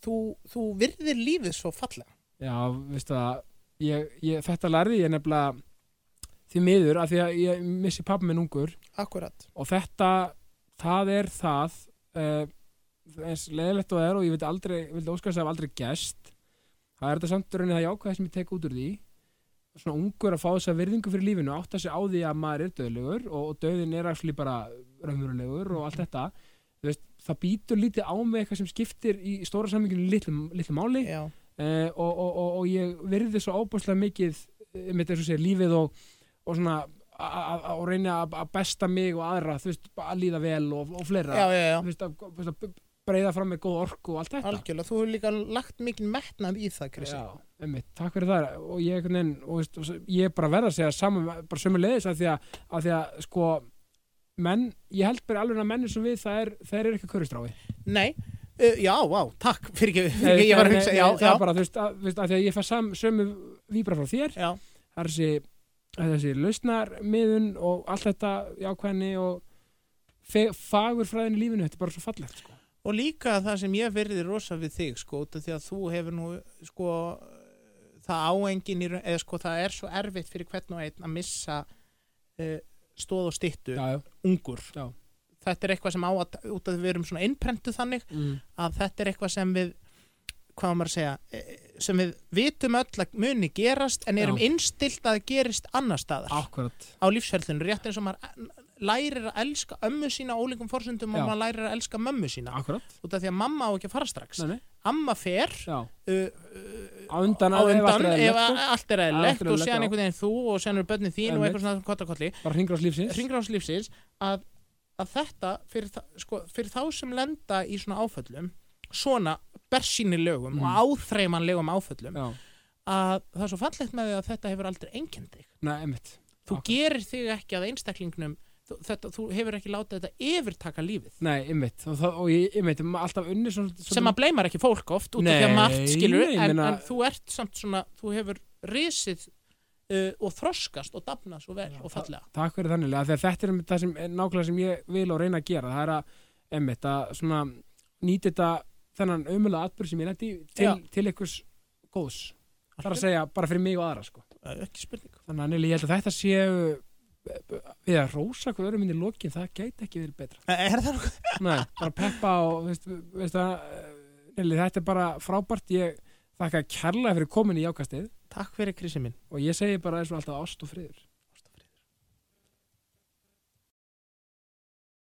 þú, þú virðir lífið svo fallega Já, veistu það, ég, ég, þetta lærði ég nefnilega því miður af því að ég missi pappa minn ungur Akkurat og þetta, það er það uh, eins leðilegt og það er og ég veit aldrei, vildi óskast að hafa aldrei gest það er þetta samt rauninni það jákvæða sem ég tek út úr því svona ungur að fá þess að virðingu fyrir lífinu átt að sig á því að maður er döðlegur og, og döðin er afsli bara raunverulegur og allt þetta Þú veist, það býtur lítið á mig eitthvað sem skiptir í stóra saminginu litlu, litlu máli Já, uh, og, og, og, og ég virði svo ábúslega mikið mitt eins og segir lífið og, og svona að- að- og reyna að- að besta mig og aðra þú veist, bara að líða vel og, og fleira já, já, já, Þú veist, að, þú veist, að breyða fram með góð orku og allt þetta algjörlega þú hefur líka lagt mikinn metnað í það Krissi Já, einmitt, takk fyrir það og ég, einhvern veginn, og, veist, og s- ég er bara að verða að segja saman, bara sömu leiðis að því að, að því að sko menn, ég held bara alveg að mennir sem við það er, þeir eru ekki körustráfi nei, uh, já, vá, takk fyrir ekki, fyrir ekki (laughs) ég var að hugsa, já, það er já, bara, þú veist, að, þú veist, að því að ég fæ sam, sömu víbra frá þér já það er þessi, það er þessi lausnarmiðun og allt þetta jákvæðni og fe, fagurfræðin í lífinu, þetta er bara svo fallegt sko. og líka það sem ég verði rosa við þig sko, út af því að þú hefur nú sko, það áengin eða sko, það er svo erfitt fyrir hvern og einn að missa uh, stóð og styttu, já, já, ungur Já. þetta er eitthvað sem á að, út af því við erum svona innprentu þannig, mm. að þetta er eitthvað sem við hvað á maður að segja eh, sem við vitum öll að muni gerast en erum Já. innstilt að það gerist annar staðar akkurat á lífsferðlinu, rétt eins og maður eh, lærir að elska ömmu sína á ólíkum forsundum Já. og maður lærir að elska mömmu sína akkurat, út af því að mamma á ekki að fara strax nei, nei, amma fer já, uh, á undan á að- ef allt undan er eðlilegt, ef sko. að allt er Allt er eðlilegt og eðlilegt, séðan já. einhvern veginn þú og séðan eru börnin þín og Einmitt. eitthvað svona kottakolli bara hringur á lífsins hringrás lífsins að, að þetta fyrir, þa sko, fyrir þá sem lenda í svona áföllum svona bersýnilegum Mhm. og áþreimanlegum áföllum já, að það er svo fallegt með því að þetta hefur aldrei enginn þig nei, einmitt þú Akkurat. gerir þig ekki að einstaklingnum þú, þetta, þú hefur ekki látið þetta yfirtaka lífið Nei, einmitt, og, það, og ég, einmitt, ma- alltaf unni svona, svona sem að bleimar ekki fólk oft út af því að Nei, margt skilur nei, en, meina- en þú ert samt svona, þú hefur risið uh, og þroskast og dafnað svo vel og fallega Takk fyrir þannig, að þetta er einmitt það sem er nákvæmlega sem ég vil og reyna að gera það er að, einmitt, að svona nýti þetta, þennan ömulega atbyrg sem ég nætti til, Já. til einhvers góðs, það er að segja bara fyrir mig og aðra, sko, Eh, ekki spurning þannig að Nili, ég held að þetta séu við að rósa hvað örum minni lokin, það gæti ekki verið betra Eh, er það nokkuð? Nei, bara peppa og veist, veist að, Nili, þetta er bara frábært, ég þakka kærlega fyrir komin í jákastið takk fyrir krisi minn og ég segi bara eins og alltaf ást og friður